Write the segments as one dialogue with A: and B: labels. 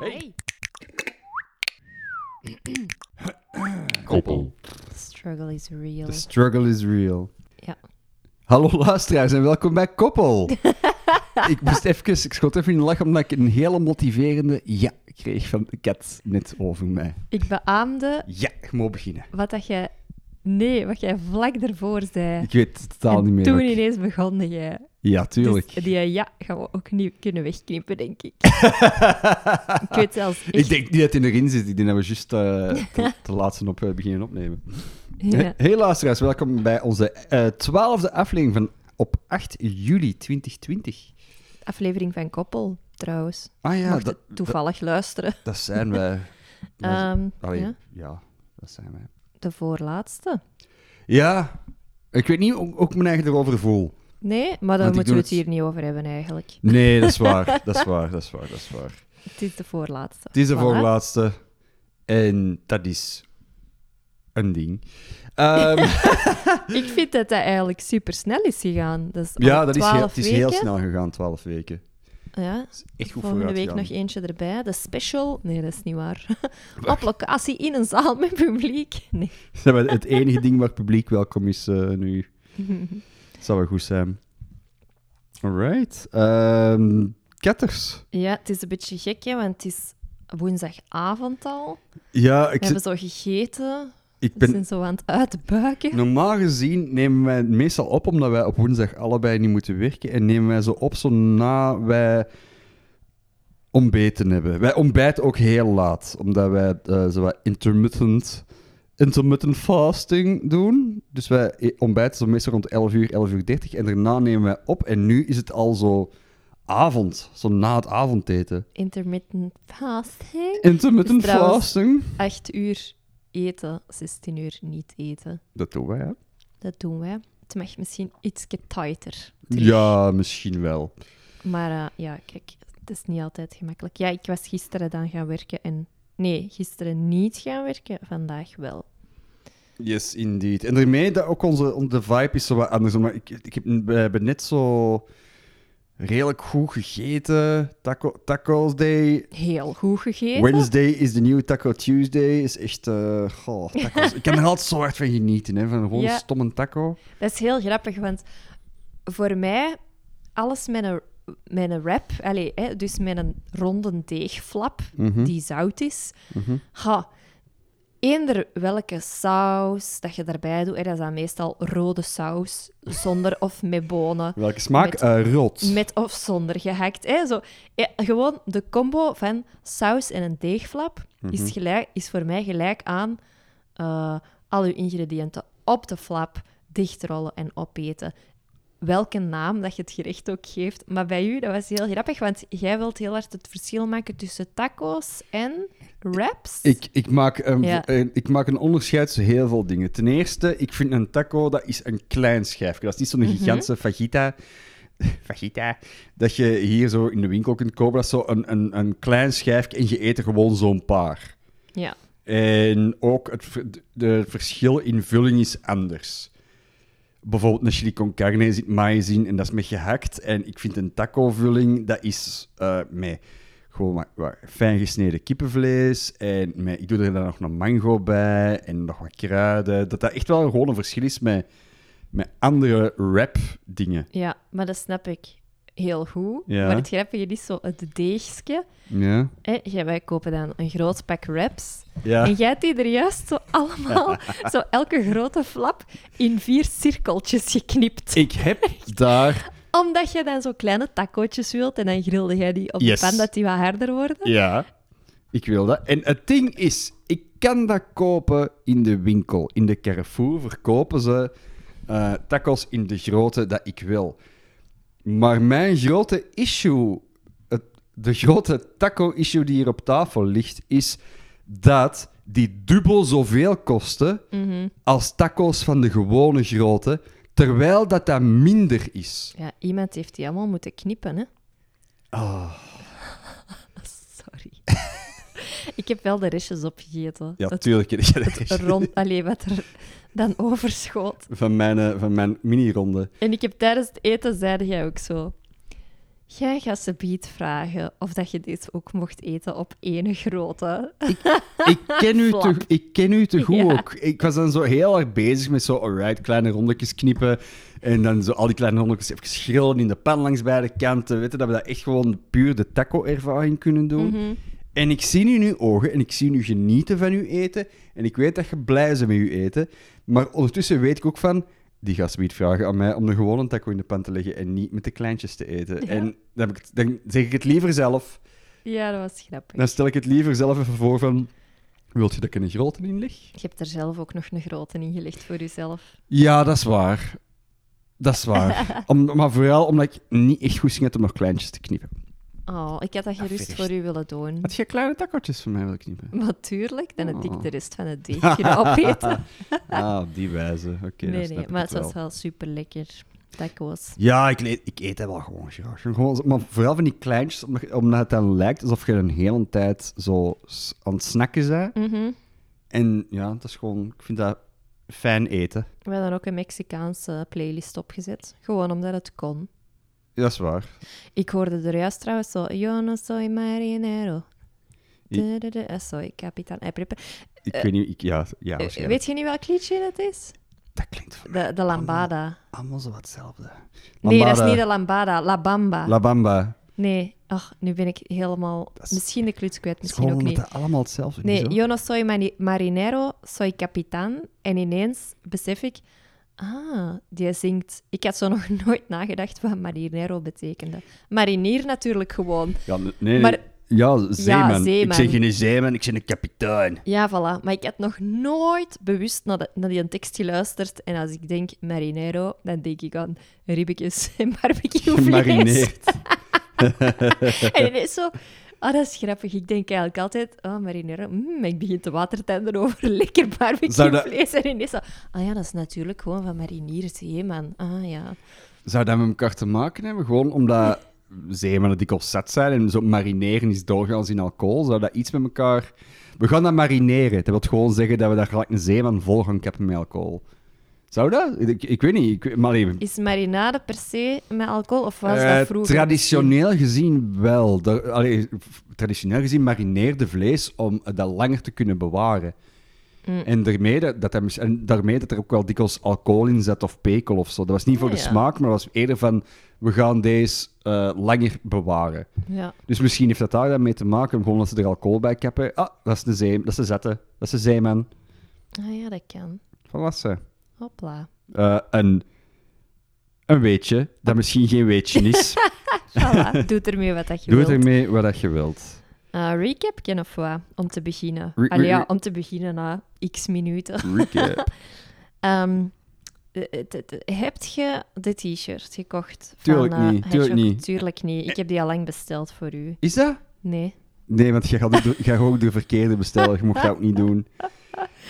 A: Hey.
B: Koppel.
A: Struggle is real.
B: The struggle is real.
A: Ja.
B: Hallo luisteraars en welkom bij Koppel. ik moest even, ik schot even in de lach omdat ik een hele motiverende ja kreeg van de kat net over mij.
A: Ik beaamde
B: Ja, ik moet beginnen.
A: wat dat jij... Nee, wat jij vlak ervoor zei.
B: Ik weet het totaal
A: En
B: niet meer.
A: toen
B: wat ik-
A: ineens begon jij.
B: Ja, tuurlijk.
A: Dus die ja gaan we ook niet kunnen wegknippen, denk ik. ik weet zelfs echt...
B: ik denk niet dat hij erin zit. Ik denk dat we juist eh, de, de laatste op eh, beginnen opnemen.
A: Ja.
B: Hey luisteraars, welkom bij onze eh, twaalfde aflevering van op 8 juli 2020.
A: Aflevering van Koppel, trouwens.
B: Ah ja,
A: Mocht
B: dat,
A: het toevallig luisteren.
B: dat zijn wij. Wij-
A: Ehm,
B: Allee,
A: ja,
B: ja, dat zijn wij.
A: de voorlaatste.
B: Ja, ik weet niet hoe hoe ik me eigen erover voel.
A: Nee, maar daar
B: ik
A: moeten
B: doe
A: we het
B: het-
A: hier niet over hebben, eigenlijk.
B: Nee, dat is waar. dat is waar, dat is waar, dat is waar.
A: Het is de voorlaatste.
B: Het is de
A: Voilà.
B: voorlaatste. En dat is een ding. Ehm,
A: Ik vind dat dat eigenlijk super snel is gegaan. Dat is al
B: ja, dat is, heel-
A: 12
B: het is heel
A: weken.
B: snel gegaan, 12 weken.
A: Ja.
B: Dat is echt goed
A: Volgende week nog
B: vooruitgegaan.
A: eentje erbij. De special. Nee, dat is niet waar. Op locatie in een zaal met publiek. Nee.
B: Zeg maar, Het enige ding waar publiek welkom is eh, nu. Dat zou wel goed zijn. Alright. Ehm ketters.
A: Ja, het is een beetje gek, hè, want het is woensdagavond al. We
B: Ja, ik,
A: hebben
B: zit,
A: zo gegeten.
B: ik
A: We
B: ben
A: zijn zo aan het uitbuiken.
B: Normaal gezien nemen wij het meestal op, omdat wij op woensdag allebei niet moeten werken. En nemen wij ze op zo na wij ontbeten hebben. Wij ontbijten ook heel laat, omdat wij eh zo wat intermittent, intermittent fasting doen. Dus wij e- ontbijten zo meestal rond 11 uur, 11 uur 30. En daarna nemen wij op. En nu is het al zo avond, zo na het avondeten.
A: Intermittent fasting.
B: Intermittent
A: Dus trouwens-
B: fasting.
A: 8 uur eten, 16 uur niet eten.
B: Dat doen wij, hè?
A: Dat doen wij. Het mag misschien iets tighter. terug.
B: Ja, misschien wel.
A: Maar eh, ja, kijk, het is niet altijd gemakkelijk. Ja, ik was gisteren dan gaan werken en... Nee, gisteren niet gaan werken, vandaag wel.
B: Yes, indeed. En daarmee dat ook onze, on- de vibe is zo wat anders. Maar ik, ik heb, we hebben net zo redelijk goed gegeten. Taco, tacos Day.
A: Heel goed gegeten.
B: Wednesday is de nieuwe Taco Tuesday. Is echt. eh, goh, tacos. ik kan er altijd zo hard van genieten, hè, van gewoon
A: Ja.
B: een stomme taco.
A: Dat is heel grappig, want voor mij, alles met een, met een wrap, allez, hè, dus met een ronde deegflap
B: Mhm.
A: die zout is,
B: Mhm.
A: ha, eender welke saus dat je daarbij doet, hè, dat is dan meestal rode saus, zonder of met bonen,
B: Welke smaak?
A: Met-
B: Eh, rood.
A: met of zonder gehakt. Hè, zo. Ja, gewoon de combo van saus en een deegflap
B: Mhm.
A: is, gelijk, is voor mij gelijk aan eh, al uw ingrediënten op de flap dichtrollen en opeten. Welke naam dat je het gerecht ook geeft. Maar bij u, dat was heel grappig, want jij wilt heel hard het verschil maken tussen tacos en wraps.
B: Ik, ik, maak een,
A: Ja.
B: een- ik maak een onderscheid tussen heel veel dingen. Ten eerste, ik vind een taco dat is een klein schijfje. Dat is niet zo'n gigantische fajita. Fajita. Dat je hier zo in de winkel kunt kopen. Dat is zo een, een, een klein schijfje en je eet er gewoon zo'n paar.
A: Ja.
B: En ook het, ver- de, het verschil in vulling is anders. Bijvoorbeeld een chili con carne zit maïs in en dat is met gehakt. En ik vind een taco-vulling, dat is eh, met gewoon wat, wat fijn gesneden kippenvlees. En met, ik doe er dan nog een mango bij en nog wat kruiden. Dat dat echt wel gewoon een verschil is met, met andere wrap-dingen.
A: ja, maar dat snap ik heel goed.
B: Ja.
A: Maar het grappige is zo het deegske.
B: Ja.
A: Hè, jij- wij kopen dan een groot pak wraps. En
B: Ja.
A: jij hebt die er juist zo allemaal, zo elke grote flap, in vier cirkeltjes geknipt.
B: Ik heb daar...
A: Omdat je dan zo kleine tacootjes wilt en dan grilde jij die op
B: Yes.
A: de pan dat die wat harder worden.
B: Ja, ik wil dat. En het ding is, ik kan dat kopen in de winkel. In de Carrefour verkopen ze eh tacos in de grootte dat ik wil. Maar mijn grote issue, het, de grote taco-issue die hier op tafel ligt, is dat die dubbel zoveel kosten als tacos van de gewone grootte, terwijl dat dat minder is.
A: Ja, iemand heeft die allemaal moeten knippen, hè?
B: Oh.
A: Sorry. ik heb wel de restjes opgegeten.
B: Ja,
A: het
B: tuurlijk.
A: rond, allee, wat er dan overschoot.
B: Van mijn, eh, van mijn mini-ronde.
A: En ik heb tijdens het eten, zeide jij ook zo... Jij gaat ze biedt vragen of dat je dit ook mocht eten op ene grote.
B: Ik ken u te,
A: Flap.
B: ik ken u te goed
A: Ja.
B: ook. Ik was dan zo heel erg bezig met zo, alright, kleine rondjes knippen. En dan zo al die kleine rondjes even schrillen in de pan langs beide kanten. Weet je, dat we dat echt gewoon puur de taco-ervaring kunnen doen.
A: Mhm.
B: En ik zie in uw ogen en ik zie u genieten van uw eten. En ik weet dat je blij bent met uw eten. Maar ondertussen weet ik ook van, die gast niet vragen aan mij om er gewoon een taco in de pan te leggen en niet met de kleintjes te eten.
A: Ja.
B: En dan, heb ik, het- dan zeg ik het liever zelf.
A: Ja, dat was grappig.
B: Dan stel ik het liever zelf even voor van... Wilt je dat ik er een grote in leg?
A: Je hebt er zelf ook nog een grote in gelegd voor jezelf.
B: Ja, dat is waar. Dat is waar. Om, maar vooral omdat ik niet echt goed ging had om nog kleintjes te knippen.
A: Oh, ik had dat gerust
B: verlicht.
A: voor u willen doen.
B: Ah, Had jij kleine takkertjes voor mij willen knippen?
A: Natuurlijk, dan had ik
B: Oh.
A: de rest van het deeg kunnen opeten.
B: ah, op die wijze. Oké, dan
A: nee,
B: snap
A: nee,
B: ik
A: maar
B: het
A: het was
B: wel.
A: wel super lekker. Tacos.
B: Ja, ik, le- ik eet dat wel gewoon graag. Gewoon, zo- maar vooral van die kleintjes, omdat, omdat het dan lijkt alsof je een hele tijd zo s- aan het snakken bent.
A: Mhm.
B: En ja, dat is gewoon... Ik vind dat fijn eten.
A: We hebben dan ook een Mexicaanse playlist opgezet. Gewoon omdat het kon.
B: Ja, dat is waar.
A: Ik hoorde er juist trouwens zo... Yo no soy marinero.
B: I-
A: De, de, de, eh, sorry, kapitaan. Eh, prippen.
B: Ik weet niet... Ik, ja, ja
A: Eh,
B: waarschijnlijk.
A: Weet je niet welk liedje dat is?
B: Dat klinkt van
A: De, de lambada.
B: allemaal zo wat hetzelfde.
A: Nee, dat Ah. is
B: Oh, Lambada,
A: niet de lambada. La bamba.
B: La Bamba.
A: Nee, ach, nu ben ik helemaal...
B: Dat is-
A: Misschien de kluts kwijt,
B: Het is
A: misschien
B: gewoon
A: ook
B: omdat
A: niet.
B: het allemaal hetzelfde is.
A: Nee, yo no soy mani- marinero, soy capitán. En ineens besef ik... Ah, die zingt... Ik had zo nog nooit nagedacht wat marinero betekende. Marinier natuurlijk gewoon.
B: Ja, nee, nee.
A: Maar-
B: ja, zeeman. Ik
A: zeeman.
B: zeg geen zeeman, ik zeg een kapitein.
A: Ja, voilà. Maar ik had nog nooit bewust naar, de- naar die tekst geluisterd. En als ik denk marinero, dan denk ik aan ribbetjes en barbecuevlees.
B: Gemarineerd.
A: en ineens zo... Ah, dat is grappig. Ik denk eigenlijk altijd... Oh, marinero. mm, ik begin te watertanden over lekker
B: Zou dat-
A: barbecuevlees. En ineens zo... Ah ja, dat is natuurlijk gewoon van mariniers, hè, man. Ah ja.
B: Zou dat met elkaar te maken hebben? Gewoon omdat zeemannen dikwijls zat zijn en zo marineren is doorgaans in alcohol. Zou dat iets met elkaar... We gaan dat marineren. Dat wil gewoon zeggen dat we daar gelijk een zeeman vol gaan kappen met alcohol. Zou dat? Ik, ik weet niet. Ik, maar even.
A: Is marinade per se met alcohol? Of was
B: Eh,
A: dat vroeger?
B: traditioneel gezien wel. Daar- allee, f- traditioneel gezien marineerde vlees om dat langer te kunnen bewaren.
A: Mm.
B: En, daarmee dat, dat er mis- en daarmee dat er ook wel dikwijls alcohol in zat of pekel of zo. Dat was niet voor
A: Ah,
B: de
A: ja.
B: smaak, maar dat was eerder van we gaan deze eh, langer bewaren.
A: Ja.
B: Dus misschien heeft dat daar dan mee te maken, gewoon dat ze er alcohol bij kappen. Ah, dat is de zee, dat is de zette, dat is de zeeman.
A: Ah ja, dat kan.
B: Van was ze?
A: Hopla.
B: Eh, een, een weetje,
A: Ah.
B: dat misschien geen weetje is.
A: Voilà. Doe ermee wat dat je
B: Doe
A: wilt.
B: het ermee wat dat je wilt.
A: Eh, recapje of wat? Om te beginnen.
B: Re-
A: Allee, ja,
B: re-
A: om te beginnen na x minuten.
B: Recap.
A: Ehm, eh, eh, eh, heb je de t-shirt gekocht?
B: Tuurlijk
A: van, eh,
B: niet, tuurlijk
A: Hedgehog?
B: niet.
A: Tuurlijk niet. Ik heb die al lang besteld voor u.
B: Is dat?
A: Nee.
B: Nee, want jij gaat, ook de- jij gaat ook de verkeerde bestellen. Je mocht dat ook niet doen.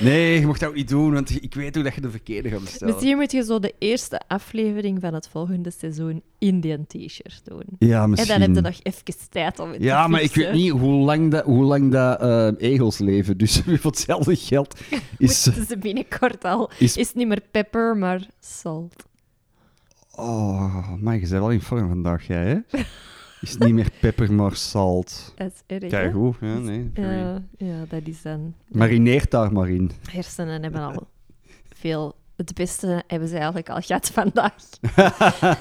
B: Nee, je mocht dat ook niet doen, want ik weet ook dat je de verkeerde gaat bestellen.
A: Misschien moet je zo de eerste aflevering van het volgende seizoen in die t-shirt doen.
B: Ja, misschien.
A: En dan heb je nog even tijd om het
B: Ja,
A: te
B: maar ik
A: fixen.
B: weet niet hoe lang dat, hoe lang dat eh, egels leven. Dus voor hetzelfde geld is...
A: Moeten ze binnenkort al.
B: Is-
A: Is, niet meer pepper, maar salt.
B: Oh, maar je bent wel in vorm vandaag, jij, hè? Is niet meer pepper, maar zout.
A: Dat is erg. hè? Eh.
B: Kijk, goed. Ja, nee. sorry.
A: Ja, ja, dat is dan.
B: Marineer daar maar in.
A: hersenen hebben al veel. Het beste hebben ze eigenlijk al gehad vandaag.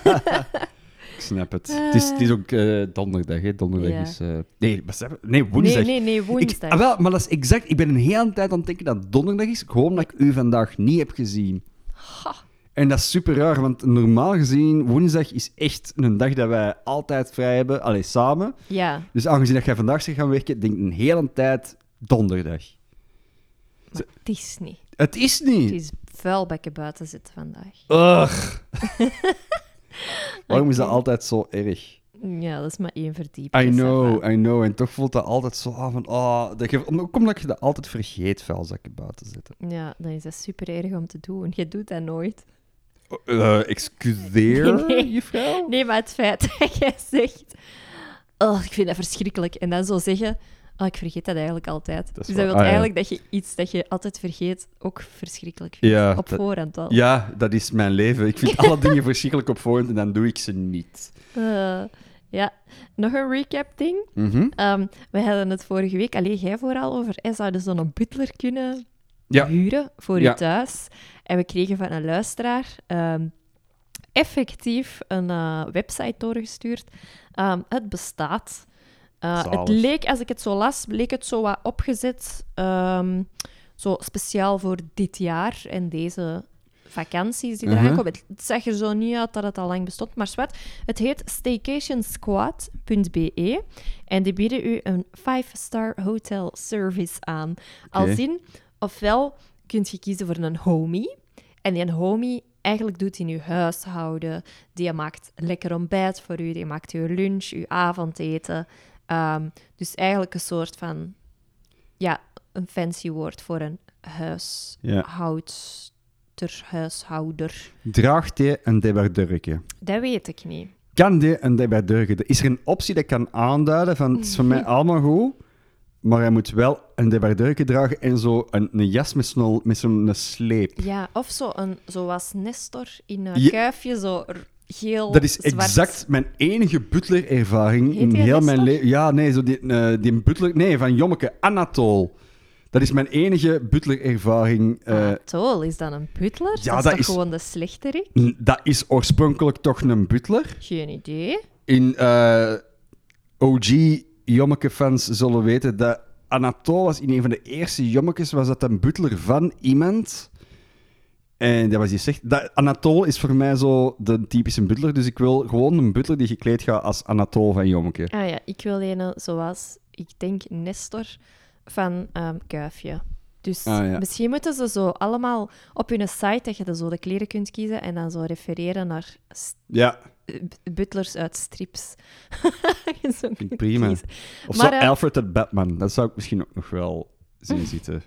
B: Ik snap het. Het, is, het is ook eh, donderdag, hè? Donderdag
A: Ja.
B: is... eh, Nee, wat zeggen we? nee, woensdag.
A: Nee, nee, nee,
B: Ik,
A: woensdag.
B: ah, wel, maar dat is exact. Ik ben een hele tijd aan het denken dat het donderdag is, gewoon omdat ik u vandaag niet heb gezien. En dat is super raar, want normaal gezien, woensdag is echt een dag dat wij altijd vrij hebben, alleen samen.
A: Ja,
B: Dus aangezien dat jij vandaag zegt gaan werken, denk ik een hele tijd donderdag.
A: maar het is niet.
B: Het is
A: Het
B: niet.
A: is vuilbekken buiten zitten vandaag.
B: Ugh. Waarom is dat
A: Oké.
B: altijd zo erg?
A: Ja, dat is maar één verdieping.
B: I
A: dus
B: know,
A: dat
B: I know. En toch voelt dat altijd zo aan van... ah, dat je, om- ook omdat je dat altijd vergeet, vuilzakken buiten zitten.
A: va- Ja, dan is dat super erg om te doen. Je doet dat nooit.
B: Eh, excuseer,
A: Nee, nee.
B: juffrouw?
A: Nee, maar het feit dat jij zegt... Oh, ik vind dat verschrikkelijk. En dan zo zeggen... Oh, ik vergeet dat eigenlijk altijd.
B: Dat
A: dus dat
B: is waar.
A: wil
B: Ah, ja.
A: eigenlijk dat je iets dat je altijd vergeet ook verschrikkelijk vindt.
B: Ja,
A: Op
B: dat,
A: voorhand al.
B: ja, dat is mijn leven. Ik vind alle dingen verschrikkelijk op voorhand en dan doe ik ze niet.
A: Eh, Ja, nog een recap-ding.
B: Mhm.
A: Ehm, we hadden het vorige week, alleen jij vooral, over eh, zouden ze een butler kunnen
B: Ja.
A: huren voor
B: Ja.
A: je thuis. En we kregen van een luisteraar ehm, effectief een eh, website doorgestuurd. Ehm, het bestaat. Eh, het
B: Zalig.
A: leek, als ik het zo las, leek het zo wat opgezet. ehm, zo speciaal voor dit jaar en deze vakanties die eraan
B: Mhm.
A: komen. Het zag er zo niet uit dat het al lang bestond, maar zwart. Het heet staycationsquad.be en die bieden u een 5-star hotel service aan. Al
B: Oké.
A: zien, ofwel kunt je kiezen voor een homie. En die homie eigenlijk doet in uw huishouden. Die maakt lekker ontbijt voor u, die maakt uw lunch, uw avondeten. Ehm, dus eigenlijk een soort van, ja, een fancy woord voor een huis
B: ja.
A: houdster, huishouder.
B: Draagt hij een debardurkje?
A: Dat weet ik niet.
B: Kan die een debardurkje? Is er een optie dat ik kan aanduiden van het is voor
A: Mhm.
B: mij allemaal goed, maar hij moet wel een debardurkje dragen en zo een, een jas met zo'n met zo'n sleep.
A: Ja, of zo een, zoals Nestor in een
B: Ja.
A: kuifje, zo r- geel,
B: Dat is
A: Oh, zwart.
B: exact mijn enige butler-ervaring
A: Heet
B: in
A: die
B: heel mijn
A: Nestor?
B: leven. Ja, nee, zo die, eh, die butler... Nee, van Jommeke, Anatol. Dat is mijn enige butler-ervaring.
A: Ah.
B: eh,
A: Anatole, is dat een butler?
B: ja,
A: dat is
B: dat
A: toch
B: is-
A: gewoon de slechterik?
B: n- dat is oorspronkelijk toch een butler?
A: Geen idee.
B: in eh, OG Jommeke-fans zullen weten dat Anatole was in een van de eerste Jommekes, was dat een butler van iemand. En dat was die zegt. Dat, Anatole is voor mij zo de typische butler, dus ik wil gewoon een butler die gekleed gaat als Anatole van Jommeke.
A: Ah ja, ik wil een zoals, ik denk, Nestor van ehm, Kuifje. Dus
B: Ah, ja.
A: misschien moeten ze zo allemaal op hun site, dat je dan zo de kleren kunt kiezen en dan zo refereren naar s-
B: Ja,
A: eh, b- butlers uit strips. Zo
B: vind ik
A: kunt
B: prima.
A: kiezen.
B: Of
A: Maar,
B: zo
A: eh,
B: Alfred het Batman, dat zou ik misschien ook nog wel zien zitten.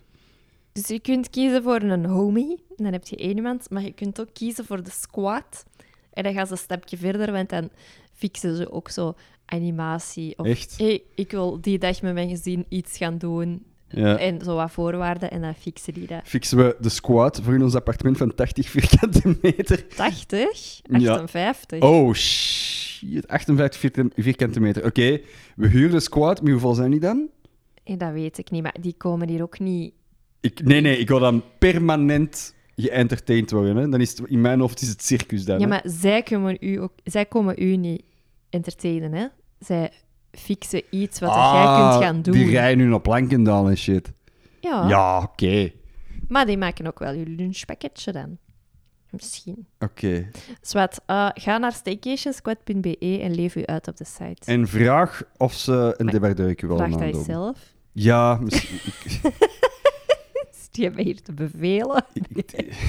A: Dus je kunt kiezen voor een homie, dan heb je één iemand, maar je kunt ook kiezen voor de squad. En dan gaan ze een stapje verder, want dan fixen ze ook zo animatie. Of
B: Echt?
A: hey, ik wil die dag met mijn gezin iets gaan doen.
B: Ja.
A: En zo wat voorwaarden, en dan fixen die dat.
B: Eh, Fixen we de squad voor in ons appartement van 80 vierkante meter.
A: 80?
B: Ja.
A: 58?
B: Oh, shit. 58 vierkante- vierkante meter. Oké, we huren de squad. Maar hoeveel zijn die dan?
A: En dat weet ik niet, maar die komen hier ook niet.
B: Ik, nee, nee, ik wil dan permanent geëntertained worden. Hè. Dan is het, in mijn hoofd is het circus dan.
A: Ja,
B: hè.
A: maar zij komen u, ook, zij komen u niet entertainen, hè? Zij fixen iets wat dat jij
B: Ah,
A: kunt gaan doen. Ah.
B: Die rijden nu op Lankendaal en shit.
A: Ja,
B: Ja, oké.
A: maar die maken ook wel uw lunchpakketje dan. Misschien.
B: Oké.
A: Zwat, eh, ga naar staycationsquad.be en leef u uit op de site.
B: En vraag of ze een debardeukje willen
A: Vraag dat
B: aandoen.
A: zelf.
B: Ja, misschien.
A: Die hebben hier te bevelen.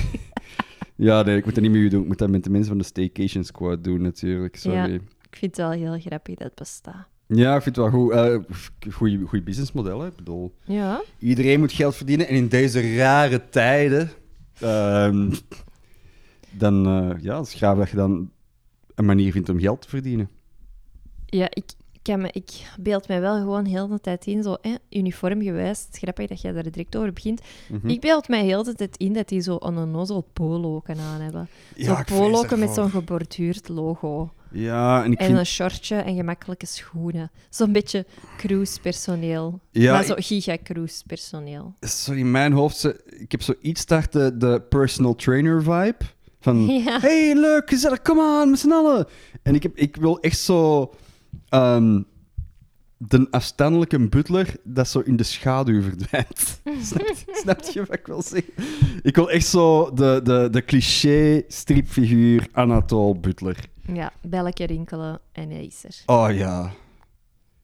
B: ja, nee, ik moet dat niet meer doen. Ik moet dat met de mensen van de Staycation Squad doen, natuurlijk. Sorry.
A: Ja. Ik vind het wel heel grappig dat het bestaat.
B: Ja, ik vind het wel goed. eh Goed businessmodel, hè. Ik bedoel...
A: Ja.
B: Iedereen moet geld verdienen en in deze rare tijden. ehm, dan eh ja, het is gaaf dat je dan een manier vindt om geld te verdienen.
A: Ja, ik, kan me, ik beeld mij wel gewoon heel de tijd in, zo hè, uniformgewijs. Het is grappig dat jij daar direct over begint. Ik beeld mij heel de tijd in dat die zo een onnozel polo aan hebben. zo'n poloken met zo'n geborduurd logo.
B: Ja, en ik
A: En
B: vind.
A: een shortje en gemakkelijke schoenen. Zo'n beetje cruisepersoneel.
B: Ja,
A: maar zo
B: ik-
A: giga-cruisepersoneel.
B: Sorry, in mijn hoofd. ze- Ik heb zoiets start de, de personal trainer vibe. Van
A: Ja.
B: hey, leuk, gezellig, kom aan, met z'n allen. En ik, heb, ik wil echt zo. ehm, de afstandelijke butler dat zo in de schaduw verdwijnt. snap, je- snap je wat ik wil zeggen? Ik wil echt zo de, de, de cliché stripfiguur Anatole Butler.
A: Ja, belletje rinkelen en hij is er.
B: Oh ja.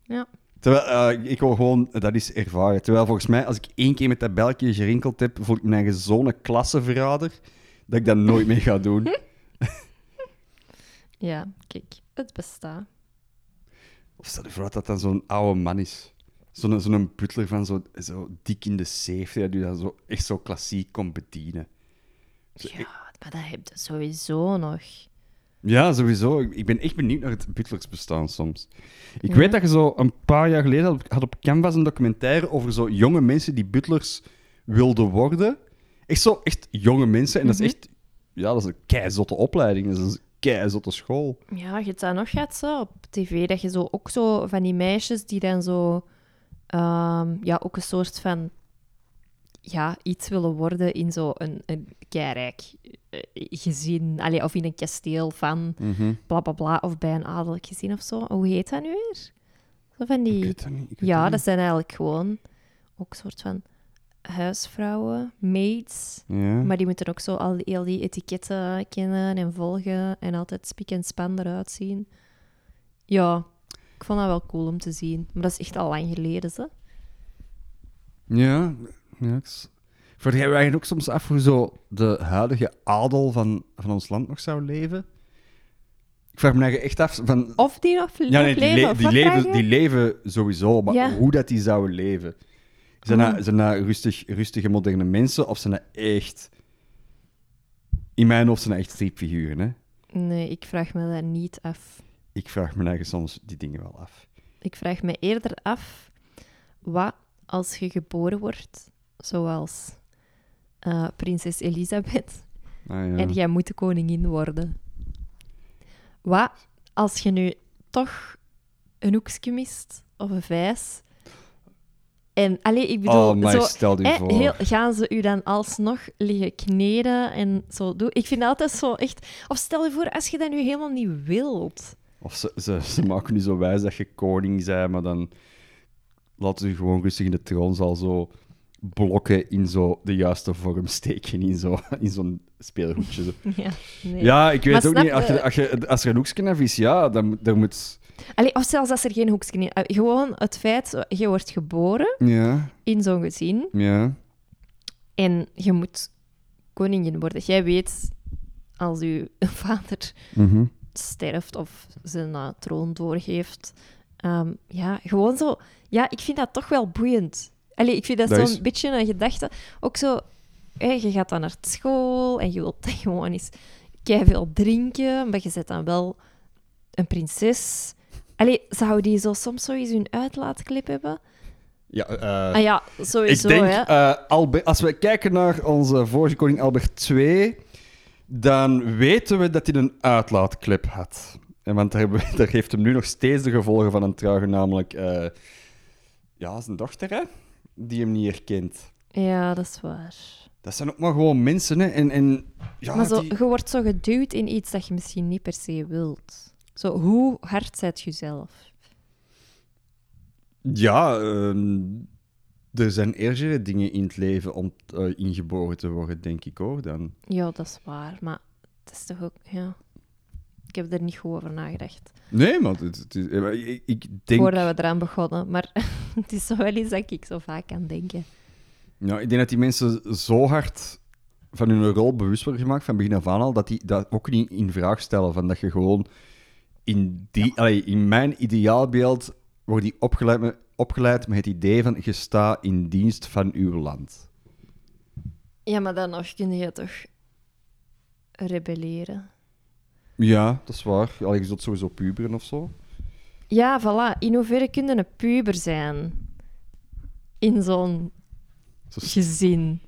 A: Ja.
B: Terwijl, eh, ik wil gewoon, dat is ervaren. Terwijl volgens mij, als ik één keer met dat belkje gerinkeld heb, voel ik me eigen zo'n klassenverrader, dat ik dat nooit meer ga doen.
A: Ja, kijk, het bestaat.
B: Of stel je voor dat dat dan zo'n oude man is. Zo'n zo'n butler van zo, zo dik in de 70, dat die dan zo, echt zo klassiek komt bedienen. Zo, ik-
A: Ja, maar dat heb je sowieso nog.
B: ja, sowieso. Ik, ik ben echt benieuwd naar het butlersbestaan soms. Ik weet dat je zo een paar jaar geleden had, had op Canvas een documentaire over zo jonge mensen die butlers wilden Mhm. worden. Echt zo, echt jonge mensen. En dat is echt, ja, dat is een keizotte opleiding. Dat is een keizotte school.
A: Ja, je hebt dat nog gehad zo, op tv, dat je zo ook zo van die meisjes die dan zo... ehm, ja, ook een soort van... Ja, iets willen worden in zo'n een, een keirijk eh, gezin. Allee, of in een kasteel van
B: Mhm.
A: bla bla bla. Of bij een adellijk gezin of zo. Hoe heet dat nu weer? Zo van
B: Ik
A: die...
B: weet dat niet. ik weet
A: Ja,
B: dat
A: dat
B: niet.
A: zijn eigenlijk gewoon ook soort van huisvrouwen, maids.
B: Ja.
A: Maar die moeten ook zo al die, heel die etiketten kennen en volgen en altijd spiek en span eruit zien. Ja, ik vond dat wel cool om te zien. Maar dat is echt al lang geleden, ze.
B: Ja, ja ik s- Vraag jij je eigenlijk ook soms af hoe zo de huidige adel van, van ons land nog zou leven? Ik vraag me eigenlijk echt af van...
A: Of die nog,
B: ja, nee,
A: nog
B: die, le-
A: leven. of
B: die,
A: wat vraag
B: leven,
A: je?
B: die leven sowieso, maar
A: Ja.
B: hoe dat die zouden leven. Zijn dat, zijn dat rustig, rustige, moderne mensen of zijn dat echt... In mijn hoofd zijn dat echt stripfiguren, hè?
A: Nee, ik vraag me dat niet af.
B: Ik vraag me eigenlijk soms die dingen wel af.
A: Ik vraag me eerder af wat als je geboren wordt, zoals eh, prinses Elisabeth.
B: Ah, ja.
A: En jij moet de koningin worden. Wat als je nu toch een hoekje mist of een vijs? En alleen, ik bedoel,
B: oh, maar
A: zo,
B: stel je
A: hè,
B: voor.
A: heel, gaan ze u dan alsnog liggen kneden en zo doen? Ik vind dat altijd zo echt. Of stel je voor, als je dat nu helemaal niet wilt.
B: Of ze, ze, ze maken nu zo wijs dat je koning bent, maar dan laten ze je gewoon rustig in de troonzaal zo blokken in zo de juiste vorm steken in zo'n in zo'n speelgoedje. zo.
A: Ja, nee.
B: Ja, ik weet
A: Maar
B: ook
A: snap
B: niet. Als je,
A: je-
B: als, je, als er een hoekje af is, ja, dan, moet- dan moet...
A: Allee, of zelfs als er geen hoekje is. Eh, Gewoon het feit, zo, je wordt geboren
B: Ja,
A: in zo'n gezin.
B: ja.
A: En je moet koningin worden. Jij weet, als je vader
B: mhm.
A: sterft of zijn eh, troon doorgeeft. ehm, ja, gewoon zo. Ja, ik vind dat toch wel boeiend. Allee, ik vind dat,
B: Dat
A: zo'n
B: is-
A: beetje een gedachte. Ook zo, hè, je gaat dan naar school en je wilt dan gewoon eens veel drinken, maar je zet dan wel een prinses. Allee, zou die zo soms zoiets hun uitlaatklep hebben?
B: Ja, eh,
A: ah ja,
B: ik
A: sowieso,
B: denk,
A: hè.
B: eh, Albe- als we kijken naar onze vorige koning Albert II, dan weten we dat hij een uitlaatklep had. En want daar, hebben we- daar heeft hem nu nog steeds de gevolgen van een trouwen, namelijk eh, ja, zijn dochter, hè, die hem niet herkent.
A: Ja, dat is waar.
B: Dat zijn ook maar gewoon mensen, hè. En, en, ja,
A: maar zo,
B: die-
A: je wordt zo geduwd in iets dat je misschien niet per se wilt. Zo, hoe hard zet jezelf?
B: Ja, ehm, er zijn ergere dingen in het leven om eh, ingeboren te worden, denk ik hoor, dan.
A: Ja, dat is waar, maar het is toch ook... Ja. Ik heb er niet goed over nagedacht
B: Nee, maar het, het is, ik, ik denk...
A: voordat we eraan begonnen. Maar het is zo wel iets dat ik zo vaak aan denken.
B: Ja, ik denk dat die mensen zo hard van hun rol bewust worden gemaakt van begin af aan al, dat die dat ook niet in vraag stellen. Van dat je gewoon in, die, allee, in mijn ideaalbeeld wordt die opgeleid met, opgeleid met het idee van je staat in dienst van uw land.
A: Ja, maar dan nog kun je toch rebelleren.
B: Ja, dat is waar. Allee, je zult sowieso puberen of zo.
A: Ja, voilà. In hoeverre kun je een puber zijn? In zo'n
B: Zo s-
A: gezin.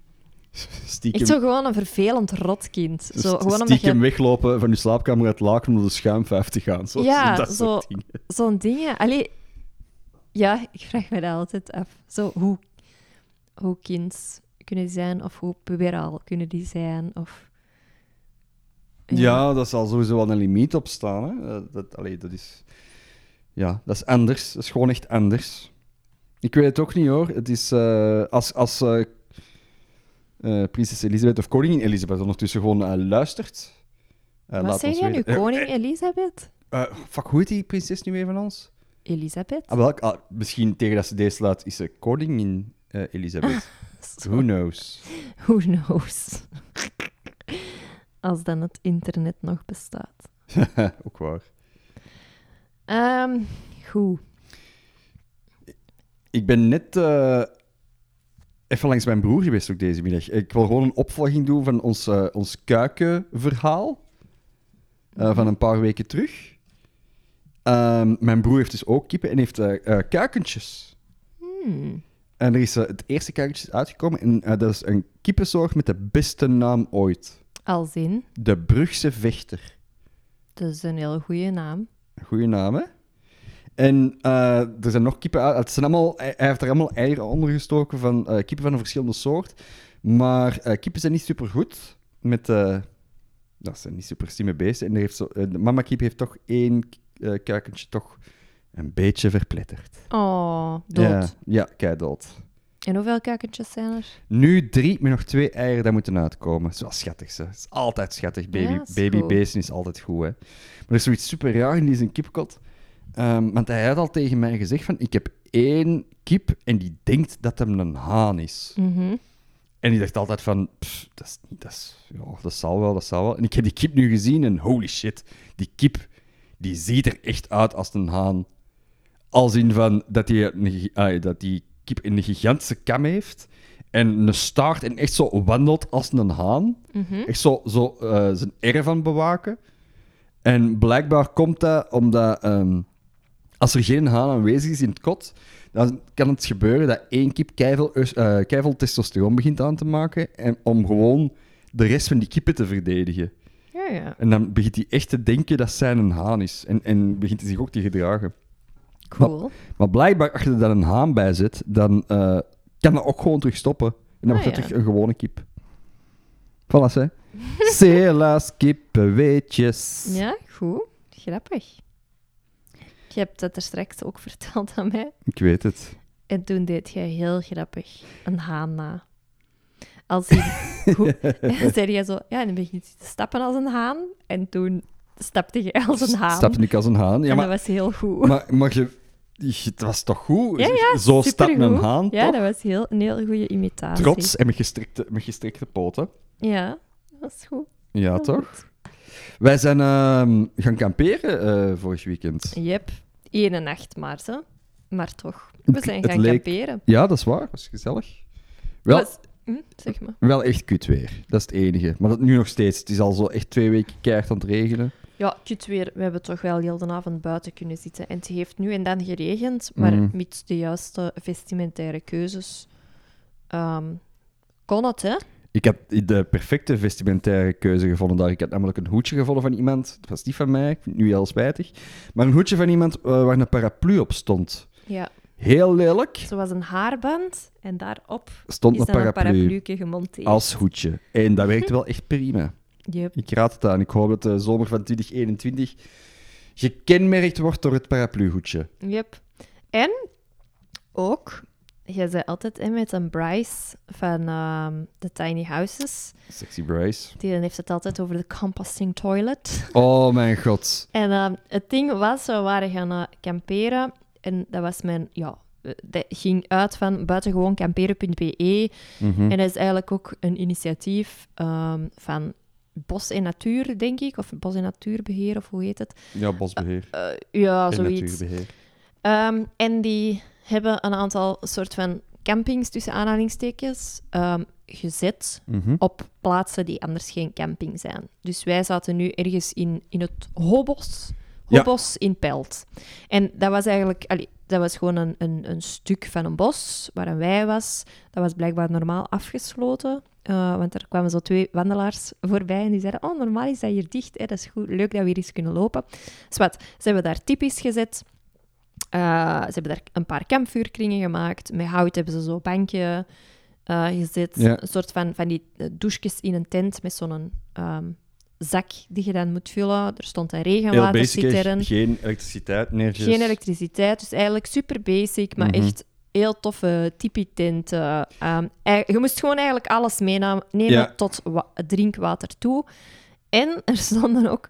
B: stiekem,
A: Echt zo gewoon een vervelend rotkind.
B: zo
A: Zo,
B: st-
A: gewoon omdat
B: stiekem
A: je
B: weglopen van je slaapkamer uit het laken om de schuimvijf te gaan. Zo,
A: Ja,
B: dat soort
A: zo-
B: dingen.
A: zo'n dingen. Allee, ja, ik vraag me dat altijd af. Zo, hoe, hoe kind kunnen die zijn of hoe puberaal kunnen die zijn? Of...
B: Ja, dat zal sowieso wel een limiet op staan. Hè? Dat, dat, allee, dat is... Ja, dat is anders. Dat is gewoon echt anders. Ik weet het ook niet hoor. Het is eh, als, als eh, eh, prinses Elisabeth of koningin Elisabeth ondertussen gewoon eh, luistert. eh,
A: Wat
B: laat
A: zeg
B: ons
A: jij nu?
B: weten- Eh,
A: Koning Elisabeth?
B: eh, fuck, hoe heet die prinses nu weer van ons?
A: Elisabeth?
B: Ah, welk, ah, misschien tegen dat ze deze slaat is ze koningin eh, Elisabeth.
A: Zo,
B: Who knows?
A: Who knows? Als dan het internet nog bestaat.
B: ook waar.
A: Ehm, goed.
B: Ik ben net eh, even langs mijn broer geweest ook deze middag. Ik wil gewoon een opvolging doen van ons, eh, ons kuikenverhaal eh, van een paar weken terug. Ehm, mijn broer heeft dus ook kippen en heeft eh, eh, kuikentjes.
A: Hmm.
B: En er is eh, het eerste kuikentje is uitgekomen en eh, dat is een kippensoort met de beste naam ooit.
A: Als in,
B: De Brugse vechter.
A: Dat is een heel goede naam.
B: Goeie naam, hè? En eh, er zijn nog kippen uit. Het zijn allemaal, hij hij heeft er allemaal eieren onder gestoken van eh, kippen van een verschillende soort. Maar eh, kippen zijn niet super goed. Met, eh, dat zijn niet super slimme beesten. En er heeft zo, eh, de mama kip heeft toch één eh, kuikentje toch een beetje verpletterd.
A: Oh, dood.
B: Ja, ja keidood.
A: En hoeveel kuikentjes zijn er?
B: Nu drie met nog twee eieren dat moeten uitkomen. Dat is wel schattig, ze. Dat is altijd schattig. Baby,
A: Ja, is
B: babybeesten is altijd goed, hè. Maar er is zoiets super raar in die zijn kipkot. Ehm, want hij had al tegen mij gezegd van... Ik heb één kip en die denkt dat hem een haan is.
A: Mhm.
B: En die dacht altijd van... "Pff, dat, is, niet- dat, is, ja, dat zal wel, dat zal wel. En ik heb die kip nu gezien en holy shit. Die kip, die ziet er echt uit als een haan. Als in van dat die, een gi- ah, dat die kip een gigantische kam heeft. En een staart en echt zo wandelt als een haan. Echt zo, zo eh, zijn erf van bewaken. En blijkbaar komt dat omdat ehm, als er geen haan aanwezig is in het kot, dan kan het gebeuren dat één kip keivel, eh, keivel testosteron begint aan te maken. En om gewoon de rest van die kippen te verdedigen.
A: Ja, ja.
B: En dan begint hij echt te denken dat zij een haan is. En, en begint hij zich ook te gedragen.
A: Cool.
B: Maar blijkbaar, als je er dan een haan bij zit, dan eh, kan dat ook gewoon terug stoppen. En dan
A: Ah,
B: wordt het
A: ja.
B: terug een gewone kip. Voilà, hè. Cela's kippenweetjes.
A: Ja, goed. Grappig. Je hebt dat er straks ook verteld aan mij.
B: Ik weet het.
A: En toen deed jij heel grappig een haan na. Als hij goed... En zei jij zo... Ja, en dan begint hij te stappen als een haan. En toen stapte je als een haan.
B: Stap ik als een haan. Ja,
A: en
B: maar,
A: dat was heel goed.
B: maar, maar je, je- het was toch goed?
A: Ja, ja,
B: Zo stapt
A: supergoed.
B: een haan,
A: ja,
B: toch?
A: dat was heel, een heel goede imitatie.
B: Trots en met gestrekte, met gestrekte poten.
A: Ja, dat is goed.
B: Ja,
A: Heel
B: toch?
A: goed.
B: Wij zijn ehm, gaan kamperen eh, vorig weekend.
A: Yep. Eén nacht maar, hè. Maar toch. We
B: Het-
A: zijn
B: het
A: gaan
B: leek-
A: kamperen.
B: Ja, dat is waar. Dat is gezellig. Wel,
A: Was- Hm, zeg maar.
B: Wel echt kut weer. Dat is het enige. Maar dat nu nog steeds. Het is al zo echt twee weken keihard aan het regenen.
A: Ja, kut weer. We hebben toch wel heel de avond buiten kunnen zitten. En het heeft nu en dan geregend, maar
B: Mhm.
A: mits de juiste vestimentaire keuzes ehm, kon het, hè?
B: Ik had de perfecte vestimentaire keuze gevonden daar. Ik had namelijk een hoedje gevonden van iemand. Dat was niet van mij, ik vind het nu heel spijtig. Maar een hoedje van iemand eh, waar een paraplu op stond.
A: Ja,
B: Heel lelijk
A: zo was een haarband en daarop
B: stond
A: is
B: een
A: dan een
B: paraplu
A: parapluke gemonteerd.
B: als hoedje. En dat werkte wel echt prima.
A: Yep.
B: Ik raad het aan. Ik hoop dat de zomer van 2021 gekenmerkt wordt door het parapluhoedje.
A: Yep. En ook, jij zei altijd hè, met een Bryce van ehm, de Tiny Houses.
B: Sexy Bryce.
A: Die heeft het altijd over de composting toilet.
B: Oh mijn god.
A: En ehm, het ding was, we waren gaan eh, kamperen. En dat was mijn, ja, eh, dat ging uit van buitengewoon kamperen.be.
B: Mhm.
A: E. En dat is eigenlijk ook een initiatief ehm, van Bos en Natuur, denk ik. Of Bos en Natuurbeheer, of hoe heet het?
B: Ja, bosbeheer.
A: Eh, ja,
B: en
A: zoiets.
B: natuurbeheer.
A: Ehm, en die hebben een aantal soort van campings, tussen aanhalingstekens, ehm, gezet
B: Mhm.
A: op plaatsen die anders geen camping zijn. Dus wij zaten nu ergens in, in het Hobos,
B: Ja.
A: Hobos in Pelt. En dat was eigenlijk... Allee, dat was gewoon een, een, een stuk van een bos waar een wei was. Dat was blijkbaar normaal afgesloten. eh, want er kwamen zo twee wandelaars voorbij en die zeiden... Oh, normaal is dat hier dicht. Hè? Dat is goed. Leuk dat we hier eens kunnen lopen. Dus wat, ze hebben daar typisch gezet. Eh, ze hebben daar een paar kampvuurkringen gemaakt. Met hout hebben ze zo'n bankje eh, gezet.
B: Ja.
A: Een soort van, van die eh, douches in een tent met zo'n ehm, zak die je dan moet vullen. Er stond een
B: Heel basic, hè.
A: regenwatercitern.
B: geen elektriciteit, neertjes.
A: Geen elektriciteit, dus eigenlijk super basic, maar
B: Mhm.
A: echt heel toffe tipi-tenten. Ehm, ei- je moest gewoon eigenlijk alles meenemen nemen
B: Ja.
A: tot wa- drinkwater toe. En er stonden ook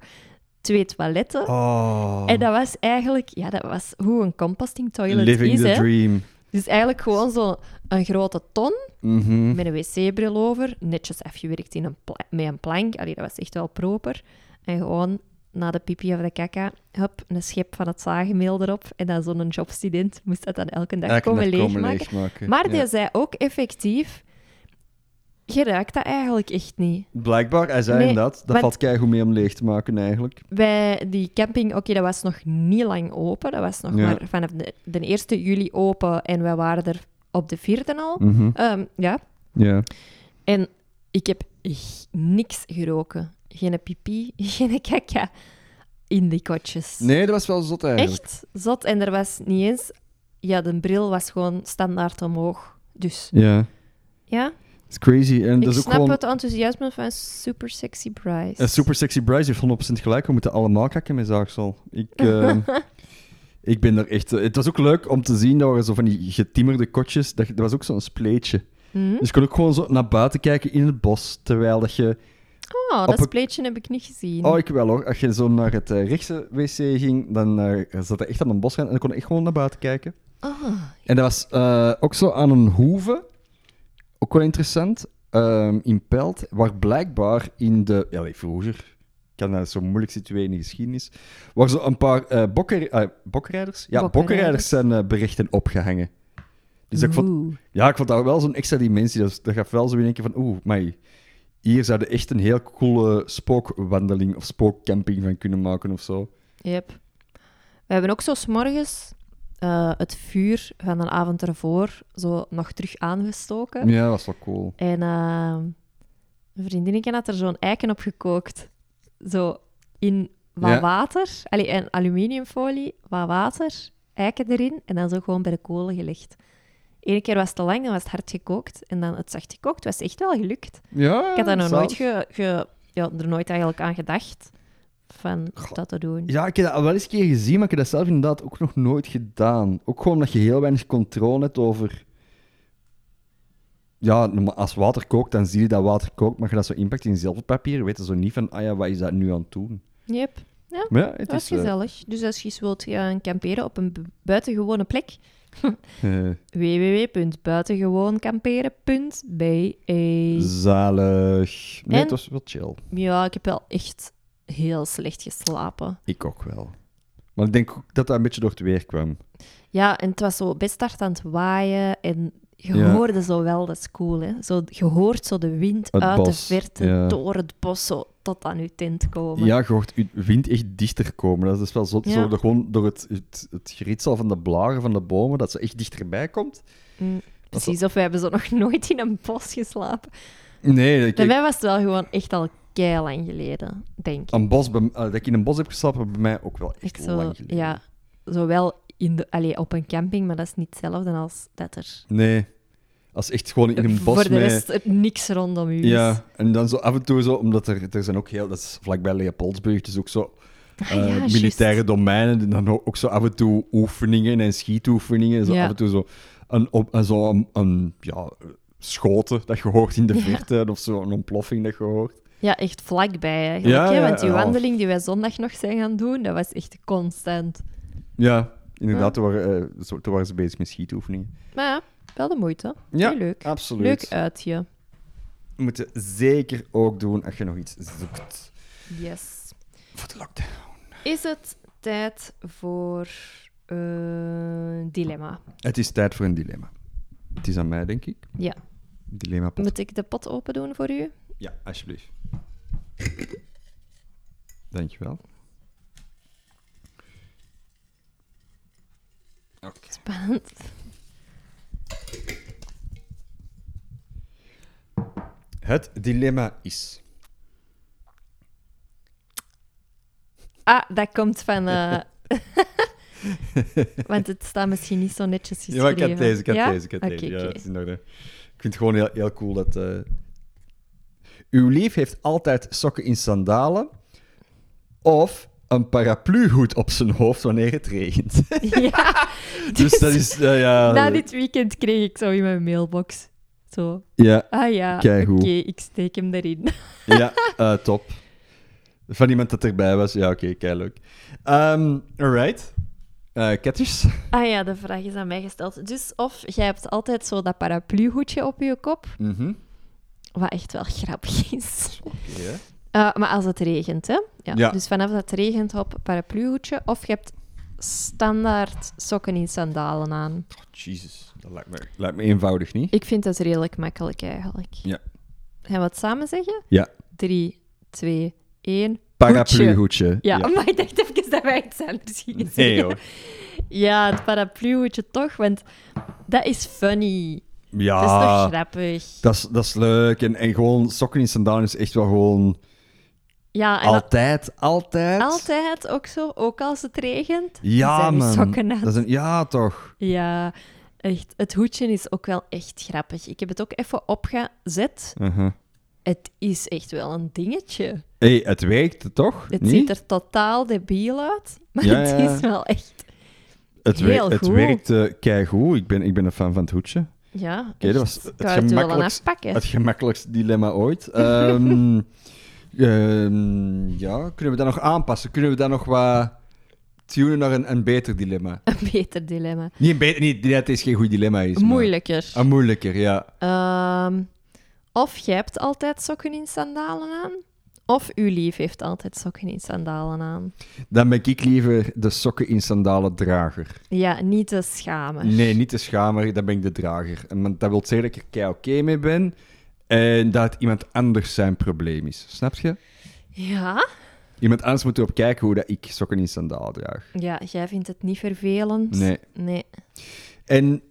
A: twee toiletten.
B: Oh,
A: En dat was eigenlijk, ja, dat was hoe een composting toilet
B: living
A: is.
B: the
A: Hè.
B: dream.
A: Dus eigenlijk gewoon zo'n een grote ton
B: Mhm.
A: met een wc-bril over, netjes afgewerkt in een pla- met een plank. Allee, dat was echt wel proper. En gewoon na de pipi of de kaka, hup, een schep van het zagemeel erop. En dan zo'n jobstudent moest dat dan elke dag
B: Elke
A: komen
B: dag
A: leegmaken.
B: leegmaken.
A: Maar die
B: Ja.
A: zei ook effectief, je ruikt dat eigenlijk echt niet.
B: Blijkbaar, hij zei
A: Nee,
B: inderdaad, dat
A: want-
B: valt keigoed mee om leeg te maken eigenlijk.
A: Bij die camping, oké, dat was nog niet lang open. Dat was nog
B: Ja.
A: maar vanaf de, de 1 juli open en wij waren er op de 4e al.
B: Mhm.
A: Ehm, ja,
B: Ja.
A: En ik heb g- niks geroken. Geen pipi, geen kaka. in die kotjes.
B: Nee, dat was wel zot eigenlijk.
A: Echt zot. En er was niet eens... Ja, de bril was gewoon standaard omhoog. Dus,
B: Ja,
A: ja.
B: it's crazy. En
A: ik
B: dat is ook
A: snap
B: gewoon
A: het enthousiasme van super sexy Bryce.
B: een super sexy Bryce heeft 100% gelijk. We moeten allemaal kakken met zaagsel. Ik, eh, ik ben er echt... eh, Het was ook leuk om te zien, dat waren zo van die getimmerde kotjes. Dat, dat was ook zo'n spleetje.
A: Mhm.
B: Dus je kon ook gewoon zo naar buiten kijken in het bos, terwijl dat je...
A: Oh,
B: Op
A: dat
B: een-
A: spleetje heb ik niet gezien.
B: Oh, ik wel hoor. Als je zo naar het eh, rechtse wc ging, dan eh, zat er echt aan een bosrand en dan kon je echt gewoon naar buiten kijken.
A: Ah,
B: En dat was eh, ook zo aan een hoeve, ook wel interessant, ehm, in Pelt, waar blijkbaar in de... Ja, nee, vroeger, ik kan dat zo moeilijk situeren in de geschiedenis, waar zo een paar eh bokker, eh, bokrijders, ja,
A: Bokrijders.
B: bokrijders, zijn eh, berichten opgehangen. Dus ik vond,
A: oeh.
B: ja, ik vond dat wel zo'n extra dimensie. Dat, dat gaf wel zo in één keer van, oeh, maar hier zou je echt een heel coole spookwandeling of spookcamping van kunnen maken of zo.
A: Yep. We hebben ook zo s'morgens eh, het vuur van een avond ervoor zo nog terug aangestoken.
B: Ja, dat was wel cool.
A: En eh, een vriendinnetje had er zo'n eiken op gekookt. Zo in wat
B: Ja.
A: water, allee, en aluminiumfolie, wat water, eiken erin en dan zo gewoon bij de kolen gelegd. Eén keer was het te lang, dan was het hard gekookt. En dan het zacht gekookt was echt wel gelukt.
B: Ja,
A: Ik had daar nog nooit,
B: Ah, zalig.
A: ge, ge- ja, er nooit eigenlijk aan gedacht van dat te doen.
B: Ja, ik heb dat wel eens een keer gezien, maar ik heb dat zelf inderdaad ook nog nooit gedaan. Ook gewoon omdat je heel weinig controle hebt over... Ja, maar als water kookt, dan zie je dat water kookt, maar je dat zo impact in zilverpapier, weet je zo niet van, ah ja, wat is dat nu aan het doen?
A: Yep.
B: Maar ja, het
A: Dat is
B: is... eh,
A: gezellig. Dus als je eens wilt gaan kamperen op een bu- buitengewone plek,
B: eh,
A: www.buitengewoonkamperen.be.
B: zalig. Nee,
A: En-
B: het was wel chill.
A: Ja, ik heb wel echt heel slecht geslapen.
B: Ik ook wel. Maar ik denk ook dat dat een beetje door het weer kwam.
A: Ja, en het was zo best hard aan het waaien en je
B: Ja.
A: hoorde zo wel, dat is cool, hè. Zo, je hoort zo de wind
B: Het
A: uit de
B: bos,
A: verte
B: ja.
A: door het bos zo tot aan je tent komen.
B: Ja, je hoort je wind echt dichter komen. Dat is dus wel zo,
A: Oh Ja.
B: zo door- gewoon door het, het, het geritsel van de blaren van de bomen, dat ze echt dichterbij komt.
A: Mm, precies, of we hebben zo nog nooit in een bos geslapen.
B: Nee, dat
A: Bij
B: ik,
A: mij was het wel gewoon echt al lang geleden, denk ik.
B: een bos, bij- eh, dat ik in een bos heb geslapen, bij mij ook wel
A: Ik
B: echt
A: zo,
B: lang geleden.
A: Ja, zowel in de, allee, op een camping, maar dat is niet hetzelfde als dat er
B: Nee, als echt gewoon in een bos
A: voor de
B: met-
A: rest er niks rondom u is.
B: Ja, en dan zo af en toe zo, omdat er, er zijn ook heel... Dat is vlakbij Leopoldsburg, dus ook zo
A: Ah,
B: eh,
A: ja, juist.
B: militaire domeinen. En dan ook ook zo af en toe oefeningen en schietoefeningen. Zo
A: Ja.
B: af en toe zo een, op, een, zo een, een, ja, schoten dat je hoort in de
A: Ja.
B: verte. Of zo een ontploffing dat je hoort.
A: Ja, echt vlakbij eigenlijk.
B: Ja,
A: hè,
B: ja,
A: want die
B: ja.
A: wandeling die wij zondag nog zijn gaan doen, dat was echt constant.
B: Ja, inderdaad, Toen, waren, eh, zo- toen waren ze bezig met schietoefeningen.
A: Maar ja, wel de moeite.
B: Ja,
A: Heel leuk.
B: absoluut.
A: Leuk eh. uitje.
B: We moeten zeker ook doen als je nog iets zoekt.
A: Yes.
B: Voor de lockdown.
A: Is het tijd voor eh, dilemma?
B: Het is tijd voor een dilemma. Het is aan mij, denk ik.
A: Ja.
B: Dilemma podcast.
A: Moet ik de pot open doen voor u?
B: Ja, alsjeblieft. Dankjewel.
A: Spannend.
B: Het dilemma is.
A: Ah, dat komt van. eh, Want het staat misschien niet zo netjes
B: Ja,
A: geschreven.
B: maar ik had deze, ik had
A: Ja?
B: deze, ik had
A: Oké,
B: deze. Ja,
A: oké.
B: het is in orde. Ik vind het gewoon heel, heel cool dat... eh, Uw lief heeft altijd sokken in sandalen of een parapluhoed op zijn hoofd wanneer het regent.
A: Ja,
B: Dus dat is... eh, ja,
A: Na dit weekend kreeg ik zo in mijn mailbox. Zo.
B: ja,
A: Ah ja, oké,
B: Keigoed.
A: ik steek hem erin.
B: ja eh, top. Van iemand dat erbij was. Ja, oké, keileuk. Ehm, alright. Eh ketters.
A: Ah ja, de vraag is aan mij gesteld. Dus of jij hebt altijd zo dat parapluhoedje op je kop,
B: Mhm.
A: wat echt wel grappig is.
B: Oké, hè.
A: Eh, maar als het regent, hè? Ja.
B: Ja.
A: Dus vanaf dat het regent, hop, parapluhoedje. Of je hebt standaard sokken in sandalen aan.
B: Oh, Jezus, dat lijkt me, lijkt me eenvoudig niet.
A: Ik vind dat redelijk makkelijk eigenlijk.
B: Ja.
A: Gaan we het samen zeggen?
B: Ja.
A: 3, 2, 1.
B: Parapluhoedje.
A: Ja, maar ik dacht even dat wij het anders gingen zeggen.
B: Nee hoor.
A: Ja, het parapluhoedje toch, want dat is funny. Dat is toch
B: Ja,
A: grappig?
B: dat is, dat is leuk. En, en gewoon sokken in sandalen is echt wel gewoon
A: Ja, en dat-
B: Altijd, altijd.
A: altijd ook zo, ook als het regent.
B: Ja,
A: zijn uw
B: man.
A: sokken nat.
B: Dat is een- ja, toch.
A: Ja, echt. Het hoedje is ook wel echt grappig. Ik heb het ook even opgezet.
B: Uh-huh.
A: Het is echt wel een dingetje.
B: hey, het werkte toch?
A: Het
B: Niet?
A: ziet er totaal debiel uit, maar
B: Ja,
A: het
B: ja.
A: is wel echt...
B: het,
A: heel
B: het
A: goed.
B: werkte keigoed. Ik ben, ik ben een fan van het hoedje.
A: Ja,
B: dat
A: echt.
B: was het
A: Ik wou het u wel aan
B: gemakkelijkst-
A: afpakken.
B: Het gemakkelijkste dilemma ooit. Ehm, ehm, ja, kunnen we dat nog aanpassen? Kunnen we dat nog wat tunen naar een, een beter dilemma?
A: Een beter dilemma.
B: Niet een beter, niet dat het is geen goed dilemma is. maar-
A: Moeilijker.
B: Een moeilijker, ja.
A: Ehm, of je hebt altijd sokken in sandalen aan, of uw lief heeft altijd sokken in sandalen aan.
B: Dan ben ik liever de sokken in sandalen drager.
A: Ja, niet te schamen.
B: Nee, niet de schamer, dan ben ik de drager. En want dat wil zeggen dat ik er kei oké mee ben en dat het iemand anders zijn probleem is. Snap je?
A: Ja?
B: Iemand anders moet erop kijken hoe dat ik sokken in sandalen draag.
A: Ja, jij vindt het niet vervelend.
B: Nee.
A: Nee.
B: En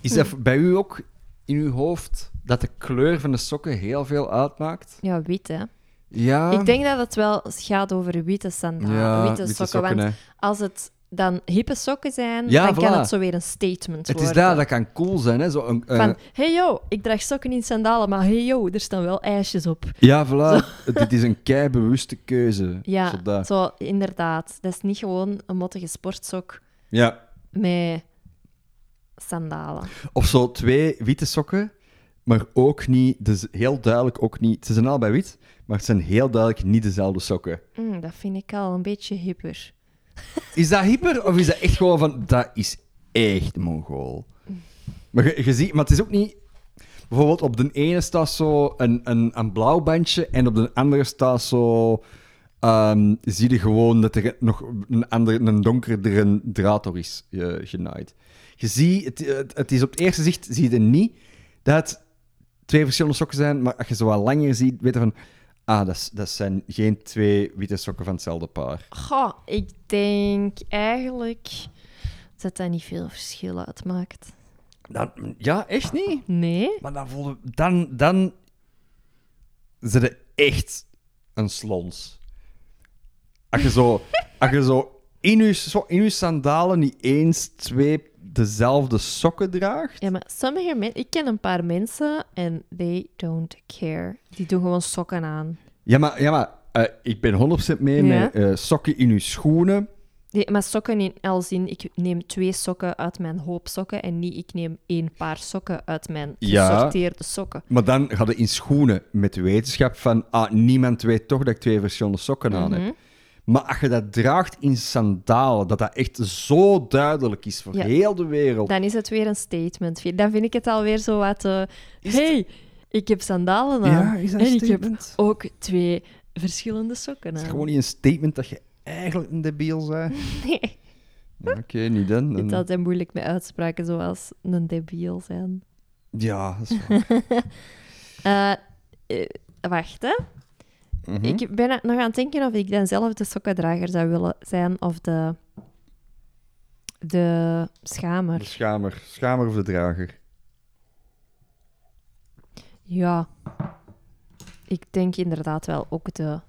B: is
A: Hm.
B: dat bij u ook in uw hoofd dat de kleur van de sokken heel veel uitmaakt?
A: Ja, wit, hè.
B: Ja.
A: Ik denk dat het wel gaat over witte sandalen,
B: Ah. Ja,
A: witte, sokken. want
B: hè.
A: als het dan hippe sokken zijn,
B: Ja,
A: dan kan
B: voilà.
A: het zo weer een statement
B: Het is
A: worden.
B: daar, dat kan cool zijn, hè? Zo een, eh,
A: Van, hey yo, ik draag sokken in sandalen, maar hey yo, er staan wel ijsjes op.
B: ja, voilà. Dit is een kei bewuste keuze.
A: Ja,
B: Zo dat.
A: zo, inderdaad. Dat is niet gewoon een mottige sportsok
B: ja.
A: met sandalen.
B: Of zo twee witte sokken, maar ook niet, dus heel duidelijk ook niet. Ze zijn allebei wit, maar het zijn heel duidelijk niet dezelfde sokken.
A: Mm, dat vind ik al een beetje hipper.
B: Is dat hyper of is dat echt gewoon van dat is echt Mongool? Maar je, je ziet, maar het is ook niet. Bijvoorbeeld op de ene staat zo een, een, een blauw bandje en op de andere staat zo. ehm, zie je gewoon dat er nog een, andere, een donkerdere draad door is eh, genaaid. Je ziet, het, het, het is op het eerste zicht zie je niet dat het twee verschillende sokken zijn, maar als je ze wat langer ziet, weet je van. Ah, dat, is- dat zijn geen twee witte sokken van hetzelfde paar.
A: Goh, ik denk eigenlijk dat dat niet veel verschil uitmaakt.
B: Dan, ja, echt niet.
A: Nee?
B: Maar dan voelde dan, dan zit het echt een slons. Als je zo, als je zo in, je, so- in je sandalen niet eens twee dezelfde sokken draagt.
A: Ja, maar sommige mensen... Ik ken een paar mensen en they don't care. Die doen gewoon sokken aan.
B: Ja, maar, ja, maar eh, ik ben 100% mee
A: Ja.
B: met eh, sokken in je schoenen.
A: Die, maar sokken in, als in, ik neem twee sokken uit mijn hoop sokken en niet ik neem één paar sokken uit mijn
B: Ja.
A: gesorteerde sokken.
B: Maar dan gaat het in schoenen met de wetenschap van ah, niemand weet toch dat ik twee verschillende sokken aan
A: Mhm.
B: heb. Maar als je dat draagt in sandalen, dat dat echt zo duidelijk is voor
A: Ja.
B: heel de wereld.
A: Dan is het weer een statement. Dan vind ik het alweer zo wat... eh,
B: Is
A: hey, ik heb sandalen aan.
B: Ja, is dat een
A: en ik heb
B: statement? Oh,
A: ook twee verschillende sokken
B: Het
A: aan.
B: is gewoon niet een statement dat je eigenlijk een debiel bent.
A: Nee,
B: Oké, niet dan.
A: het
B: dan-
A: is altijd moeilijk met uitspraken zoals een debiel zijn.
B: Ja, dat is waar.
A: Eh, eh, wacht, hè.
B: Mhm.
A: Ik ben nog aan het denken of ik dan zelf de sokkendrager zou willen zijn of de... De schamer.
B: De schamer. Schamer of de drager.
A: Ja. Ik denk inderdaad wel ook de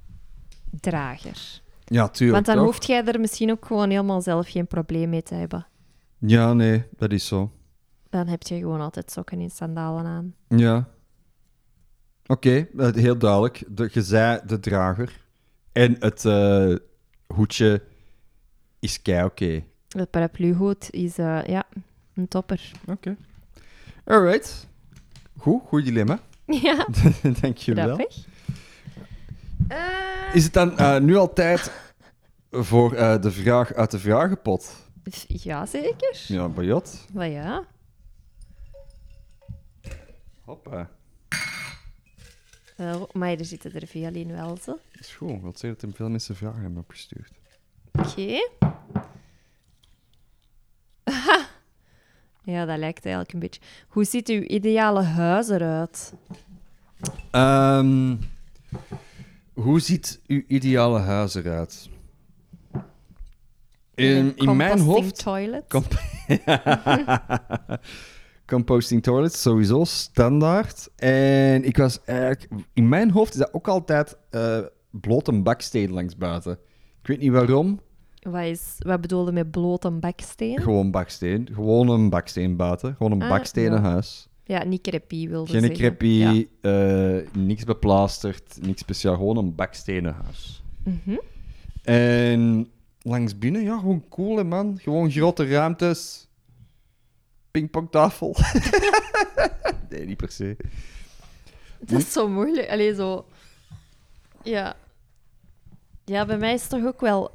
A: drager.
B: Ja, tuurlijk.
A: Want dan
B: toch?
A: hoeft jij er misschien ook gewoon helemaal zelf geen probleem mee te hebben.
B: Ja, nee, dat is zo.
A: Dan heb je gewoon altijd sokken in sandalen aan.
B: Ja. Oké, eh, heel duidelijk. De, je zei de drager. En het eh, hoedje is kei oké.
A: Het parapluhoed is eh, ja, een topper.
B: Alright. Goed, goed dilemma.
A: Ja,
B: Dankjewel.
A: grappig. Eh,
B: Is het dan eh, nu al tijd voor eh, de vraag uit de vragenpot?
A: f- ja, zeker.
B: Ja, Bajot.
A: Maar ja.
B: Hoppa,
A: Wel, maar er zitten er veel in wel, ze.
B: dat is goed. Wat zei dat hem veel mensen vragen hebben opgestuurd.
A: Oké. Aha. Ja, dat lijkt eigenlijk een beetje... Hoe ziet uw ideale huis eruit?
B: Ehm, hoe ziet uw ideale huis eruit? In, in mijn
A: composting
B: hoofd...
A: toilet?
B: Kom- Composting toilets, sowieso, standaard. En ik was eigenlijk... In mijn hoofd is dat ook altijd eh, bloot een baksteen langs buiten. Ik weet niet waarom,
A: Wat, is, wat bedoelde met blote baksteen?
B: gewoon baksteen. Gewoon een baksteen buiten. Gewoon een
A: Ah,
B: bakstenen
A: ja.
B: huis.
A: Ja, niet crepie wilde
B: Geen
A: zeggen.
B: kreppie,
A: Ja.
B: eh, niks beplasterd, niks speciaal. Gewoon een bakstenen huis.
A: Mhm.
B: En langs binnen, ja, gewoon cool, hè, man. Gewoon grote ruimtes. Pingpongtafel. nee, niet per se.
A: Dat is zo moeilijk. Allee, zo... Ja. Ja, bij mij is het toch ook wel...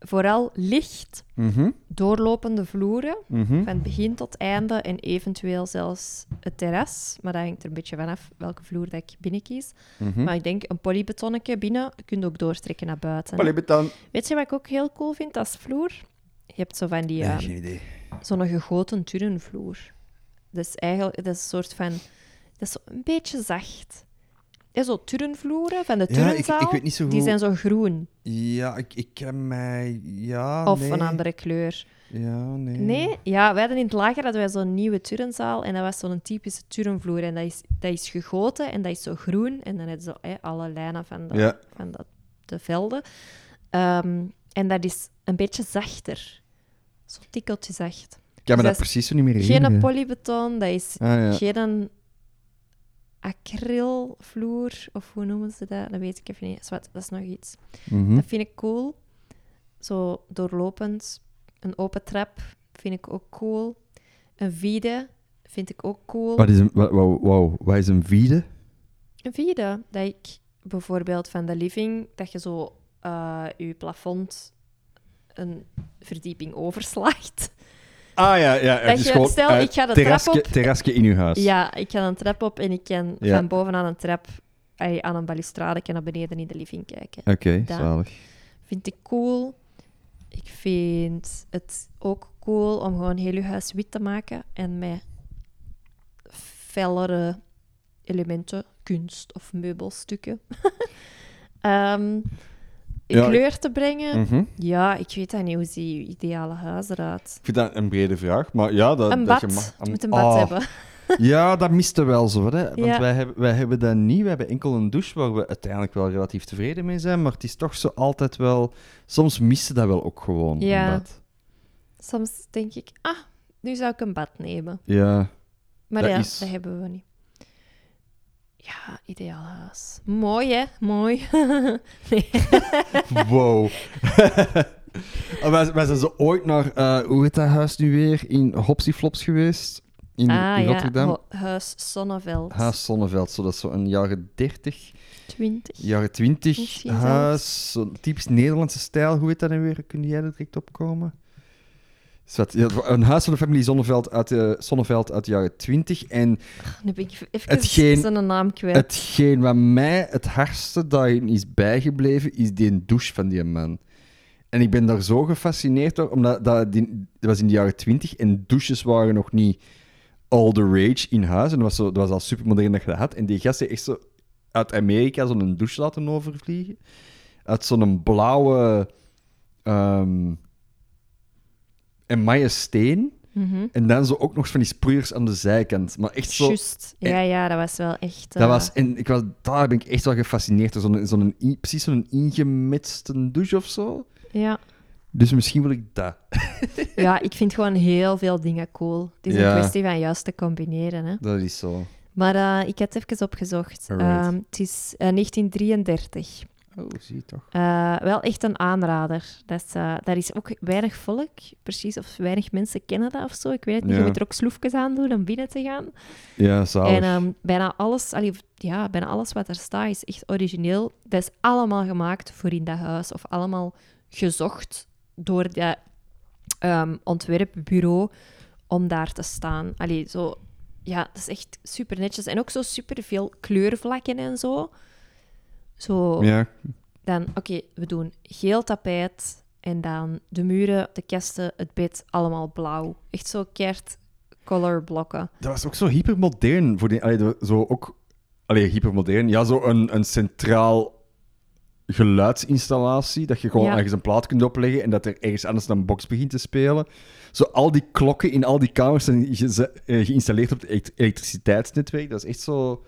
A: Vooral licht,
B: Mhm,
A: doorlopende vloeren,
B: mhm.
A: van begin tot einde en eventueel zelfs het terras. Maar dat hangt er een beetje vanaf welke vloer dat ik binnenkies.
B: Mhm.
A: Maar ik denk, een polybetonnetje binnen kun je ook doorstrekken naar buiten.
B: Allee, betaan.
A: Weet je wat ik ook heel cool vind als vloer? Je hebt zo van die...
B: Nee,
A: eh,
B: geen idee.
A: zo'n gegoten turnvloer. Dat is eigenlijk dat is een soort van. Dat is zo een beetje zacht. Ja, zo turnvloeren van de
B: Ja,
A: turnzaal.
B: ik- ik weet niet zo
A: Die
B: goed-
A: zijn zo groen
B: Ja, ik, ik ken mij... Ja,
A: of
B: Ah, nee.
A: een andere kleur.
B: Ja, nee.
A: Nee, ja, wij hadden in het lager hadden wij zo'n nieuwe turnzaal en dat was zo'n typische turnvloer. En dat is, dat is gegoten en dat is zo groen. En dan heb je zo hè, alle lijnen van de,
B: Ja.
A: van de, de velden. Ehm, en dat is een beetje zachter. Zo tikkeltje zacht.
B: Ik kan
A: Dus
B: me dat
A: dat
B: precies zo niet meer herinneren.
A: Geen polybeton, dat is
B: Ah, ja.
A: geen acrylvloer, of hoe noemen ze dat? Dat weet ik even niet. Zwart, dat is nog iets.
B: Mhm.
A: Dat vind ik cool. Zo doorlopend. Een open trap vind ik ook cool. Een vide vind ik ook cool.
B: Wat is een... wa- wa- Wauw, wat is een vide?
A: Een vide, dat ik bijvoorbeeld van de living, dat je zo eh, je plafond een verdieping overslaagt.
B: Ah, ja, ja.
A: Dat je- stel, ik ga de trap
B: terrasje,
A: op.
B: Terrasje in uw huis.
A: Ja, ik kan een trap op en ik kan
B: Ja.
A: van bovenaan een trap, ay, aan een balustrade, ik kan naar beneden in de living kijken.
B: Oké,
A: Daar.
B: zalig.
A: Vind ik cool. Ik vind het ook cool om gewoon heel je huis wit te maken en met fellere elementen, kunst of meubelstukken, Ehm, in
B: Ja, ik-
A: kleur te brengen.
B: Mhm.
A: Ja, ik weet dat niet. Hoe ziet je ideale huis eruit?
B: Ik vind dat een brede vraag, maar ja... Dat,
A: Een
B: Eh, dat
A: bad.
B: je mag-
A: Het moet een bad
B: Oh,
A: hebben.
B: Ja, dat miste wel zo. Hè? Want
A: Ja.
B: wij, hebben, wij hebben dat niet. We hebben enkel een douche waar we uiteindelijk wel relatief tevreden mee zijn. Maar het is toch zo altijd wel. Soms miste dat wel ook gewoon.
A: Ja.
B: een bad.
A: Soms denk ik, ah, nu zou ik een bad nemen.
B: ja.
A: Maar
B: Dat
A: ja,
B: is-
A: dat hebben we niet. Ja, ideaal huis. Mooi, hè? Mooi. nee.
B: Wow. Oh, wij, wij zijn zo ooit naar. eh, hoe heet dat huis nu weer? In Hopsy Flops geweest. In,
A: ah,
B: in
A: ja.
B: Rotterdam.
A: Ho- Huis Sonneveld.
B: Huis Zonneveld, zo dat is zo'n jaren 30,
A: 20.
B: jaren 20
A: Misschien
B: huis. Zo'n typisch Nederlandse stijl, hoe heet dat nou weer? Kun jij er direct op komen? Is wat- ja, Een huis van de familie Zonneveld uit de, Zonneveld uit de jaren 20. En
A: Nu ben ik even
B: Hetgeen-
A: zijn naam kwijt.
B: hetgeen wat mij het hardste daarin is bijgebleven, is die douche van die man. En ik ben daar zo gefascineerd door, omdat dat, die, dat was in de jaren 20 en douches waren nog niet all the rage in huis. En dat was, zo, dat was al supermodern dat je dat had. En die gast heeft echt zo uit Amerika zo'n douche laten overvliegen. Uit zo'n blauwe... ehm en steen.
A: Mhm.
B: En dan zo ook nog van die sproeiers aan de zijkant. Maar echt zo... eh,
A: Juist. Ja, ja, dat was wel echt... eh,
B: Dat was, en ik was, daar ben ik echt wel gefascineerd door. Zo'n, zo'n, in- precies zo'n ingemetste douche of zo.
A: Ja.
B: Dus misschien wil ik dat.
A: ja, ik vind gewoon heel veel dingen cool. Het is
B: Ja.
A: een kwestie van juist te combineren, hè.
B: Dat is zo.
A: Maar eh, ik heb het even opgezocht.
B: Alright.
A: Ehm, het is eh, 1933.
B: Oh, zie je toch?
A: Eh, wel echt een aanrader. Dat is, eh, daar is ook weinig volk, precies, of weinig mensen kennen dat of zo. Ik weet het niet.
B: Ja.
A: Je moet er ook sloefjes aan doen om binnen te gaan.
B: Ja, zalig.
A: En ehm, bijna, alles, allee, of- ja, bijna alles wat er staat is echt origineel. Dat is allemaal gemaakt voor in dat huis of allemaal gezocht door dat ehm, ontwerpbureau om daar te staan. Allee, zo, ja, dat is echt super netjes. En ook zo super veel kleurvlakken en zo. Zo
B: Ja,
A: dan, oké, we doen geel tapijt en dan de muren, de kasten, het bed, allemaal blauw. Echt zo keert colorblokken.
B: dat was ook zo hypermodern. Voor die, allee, dat- zo ook, allee, hypermodern. Ja, zo een, een centraal geluidsinstallatie. Dat je gewoon
A: Ja.
B: ergens een plaat kunt opleggen en dat er ergens anders dan een box begint te spelen. Zo al die klokken e- in al die kamers zijn ge- ze- eh, geïnstalleerd op het elekt- elektriciteitsnetwerk. Dat is echt zo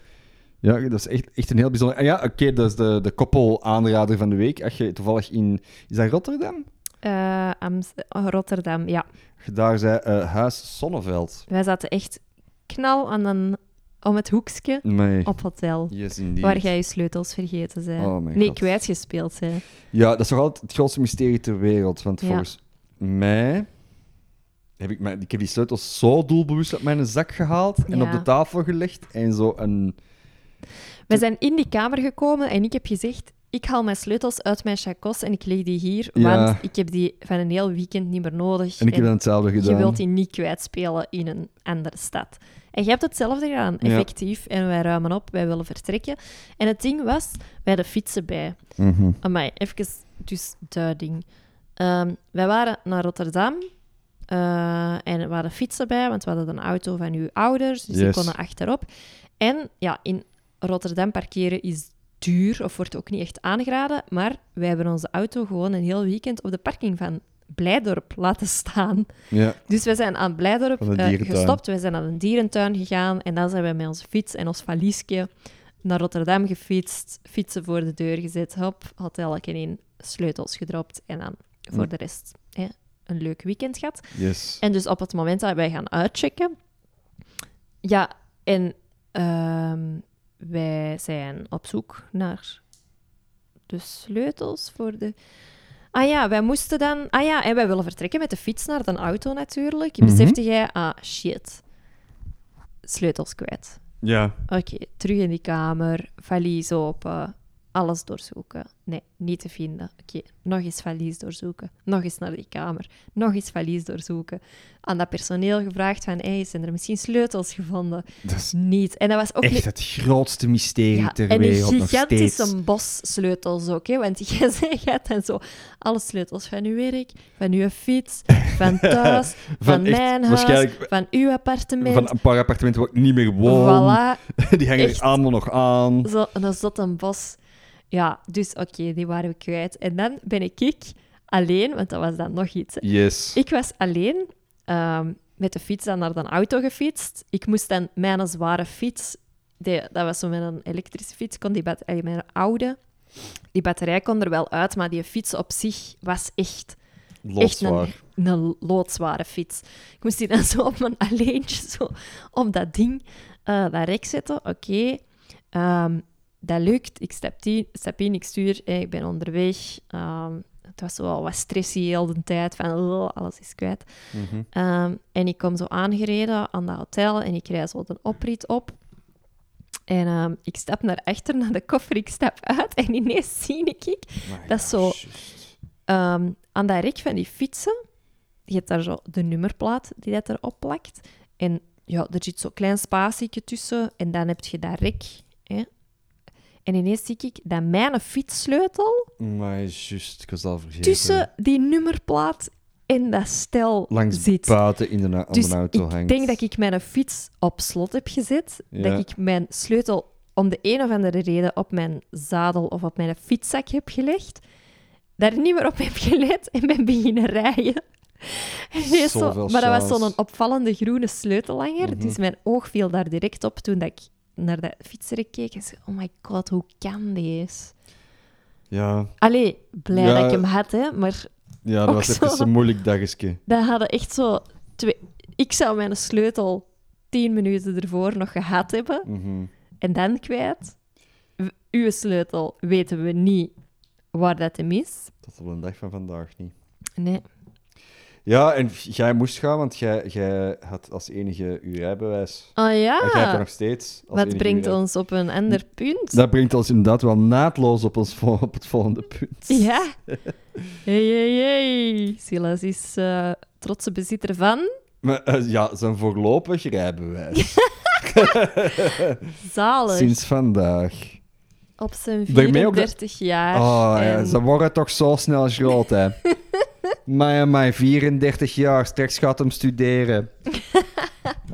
B: Ja, dat is echt, echt een heel bijzonder. Ah ja, oké, dat is de, de koppel aanrader van de week. Als je toevallig in. Is dat Rotterdam?
A: Eh, Amst- oh, Rotterdam, ja.
B: Als je Daar zei eh, Huis Sonneveld.
A: Wij zaten echt knal aan een, om het hoekje
B: Nee.
A: op hotel.
B: Yes, indeed.
A: Waar jij je sleutels vergeten zijn.
B: Oh mijn
A: nee,
B: God.
A: kwijtgespeeld zijn.
B: Ja, dat is toch altijd het grootste mysterie ter wereld. Want
A: Ja.
B: volgens mij. Heb ik, mijn, ik heb die sleutels zo doelbewust uit mijn zak gehaald en
A: Ja.
B: op de tafel gelegd. En zo een.
A: We zijn in die kamer gekomen en ik heb gezegd... Ik haal mijn sleutels uit mijn chacos en ik leg die hier,
B: Ja.
A: want ik heb die van een heel weekend niet meer nodig.
B: En ik heb
A: En
B: dan hetzelfde gedaan.
A: je wilt die niet kwijtspelen in een andere stad. En je hebt hetzelfde gedaan,
B: Ja.
A: effectief. En wij ruimen op, wij willen vertrekken. En het ding was, wij hadden fietsen bij.
B: Mhm.
A: Amai, even dus duiding. Ehm, wij waren naar Rotterdam eh, en we hadden fietsen bij, want we hadden een auto van uw ouders, dus die
B: Yes.
A: konden achterop. En ja, in Rotterdam parkeren is duur of wordt ook niet echt aangeraden, maar wij hebben onze auto gewoon een heel weekend op de parking van Blijdorp laten staan.
B: Ja.
A: Dus we zijn aan Blijdorp
B: Van een
A: eh,
B: dierentuin.
A: gestopt. We zijn naar een dierentuin gegaan. En dan zijn we met onze fiets en ons valiesje naar Rotterdam gefietst. Fietsen voor de deur gezet. Hop, hotel in, sleutels gedropt. En dan voor
B: Mm.
A: de rest hè, een leuk weekend gehad.
B: Yes.
A: En dus op het moment dat wij gaan uitchecken, ja, en ehm, wij zijn op zoek naar de sleutels voor de. Ah ja, wij moesten dan. Ah ja, en wij willen vertrekken met de fiets naar de auto natuurlijk.
B: Mhm.
A: Besefte jij, ah shit, sleutels kwijt.
B: Ja.
A: Oké, terug in die kamer, valies open, alles doorzoeken. Nee, niet te vinden. Oké, nog eens valies doorzoeken, nog eens naar die kamer, nog eens valies doorzoeken. Aan dat personeel gevraagd van, hey, zijn er misschien sleutels gevonden?
B: Dat is
A: Niet. En dat was ook
B: echt
A: niet...
B: het grootste mysterie
A: Ja,
B: ter
A: en
B: wereld.
A: een
B: nog steeds.
A: gigantische bos sleutels ook, hè? want jij zei, jij hebt dan zo alle sleutels van uw werk, van uw fiets, van thuis, van,
B: echt
A: mijn huis,
B: waarschijnlijk
A: van uw appartement.
B: Van een paar appartementen waar ik niet meer woon.
A: Voilà,
B: Die hangen
A: Echt.
B: er allemaal nog aan.
A: Zo, en dan zat een bos. Ja, dus oké, die waren we kwijt. En dan ben ik, ik alleen, want dat was dan nog iets. hè.
B: Yes.
A: Ik was alleen ehm, met de fiets dan naar de auto gefietst. Ik moest dan mijn zware fiets, die, dat was zo met een elektrische fiets, kon die bat- eh, mijn oude, die batterij kon er wel uit, maar die fiets op zich was echt echt een,
B: Loodzwaar.
A: een loodzware fiets. Ik moest die dan zo op mijn alleentje, zo op dat ding, eh dat rek zetten. Oké, ehm, dat lukt. Ik stap in, stap in ik stuur, eh, ik ben onderweg. Ehm, het was zo wel wat stressy heel de tijd, van oh, alles is kwijt.
B: Mhm.
A: Ehm, en ik kom zo aangereden aan dat hotel en ik rij zo de oprit op. En ehm, ik stap naar achter naar de koffer, ik stap uit en ineens zie ik
B: Maar
A: dat is zo-
B: juist.
A: Ehm, aan dat rek van die fietsen, je hebt daar zo de nummerplaat die dat erop plakt. En ja, er zit zo'n klein spatietje tussen en dan heb je dat rek. Hè? En ineens zie ik dat mijn fietssleutel
B: Maar juist, ik was al vergeten.
A: tussen die nummerplaat en dat stel
B: Langs
A: zit.
B: buiten in de, na- aan
A: Dus
B: de auto
A: ik
B: hangt.
A: denk dat ik mijn fiets op slot heb gezet.
B: Ja.
A: Dat ik mijn sleutel om de een of andere reden op mijn zadel of op mijn fietszak heb gelegd. Daar niet meer op heb gelet en ben beginnen rijden. En ineens zo-
B: Zoveel
A: maar dat was
B: chance.
A: zo'n opvallende groene sleutellanger.
B: Mhm.
A: Dus mijn oog viel daar direct op toen dat ik naar dat fietserrek keek. En zei, oh my god, hoe kan deze?
B: Ja,
A: Allee, blij
B: Ja.
A: dat ik hem had, hè. Maar
B: ja
A: Ook
B: dat was even
A: zo.
B: een moeilijk dagje.
A: dat hadden echt zo twee... Ik zou mijn sleutel tien minuten ervoor nog gehad hebben
B: Mhm.
A: en dan kwijt. W- Uw sleutel weten we niet waar dat hem is.
B: Tot op de dag van vandaag niet.
A: Nee.
B: Ja, en jij moest gaan, want jij, jij had als enige je rijbewijs.
A: Oh
B: En jij hebt er
A: ja,
B: nog steeds. Als
A: wat
B: enige
A: brengt
B: je rij-
A: ons op een ander punt.
B: Dat brengt ons inderdaad wel naadloos op, ons, vol- op het volgende punt.
A: Ja. Hey, hey, hey. Silas is eh, trotse bezitter van
B: Maar, eh, ja, zijn voorlopig rijbewijs.
A: zalig.
B: Sinds vandaag.
A: Op zijn
B: Daarmee ook dat-
A: 34 jaar.
B: Oh, ja,
A: En-
B: ze worden toch zo snel groot, hè. Maar mijn 34 jaar, straks gaat hem studeren.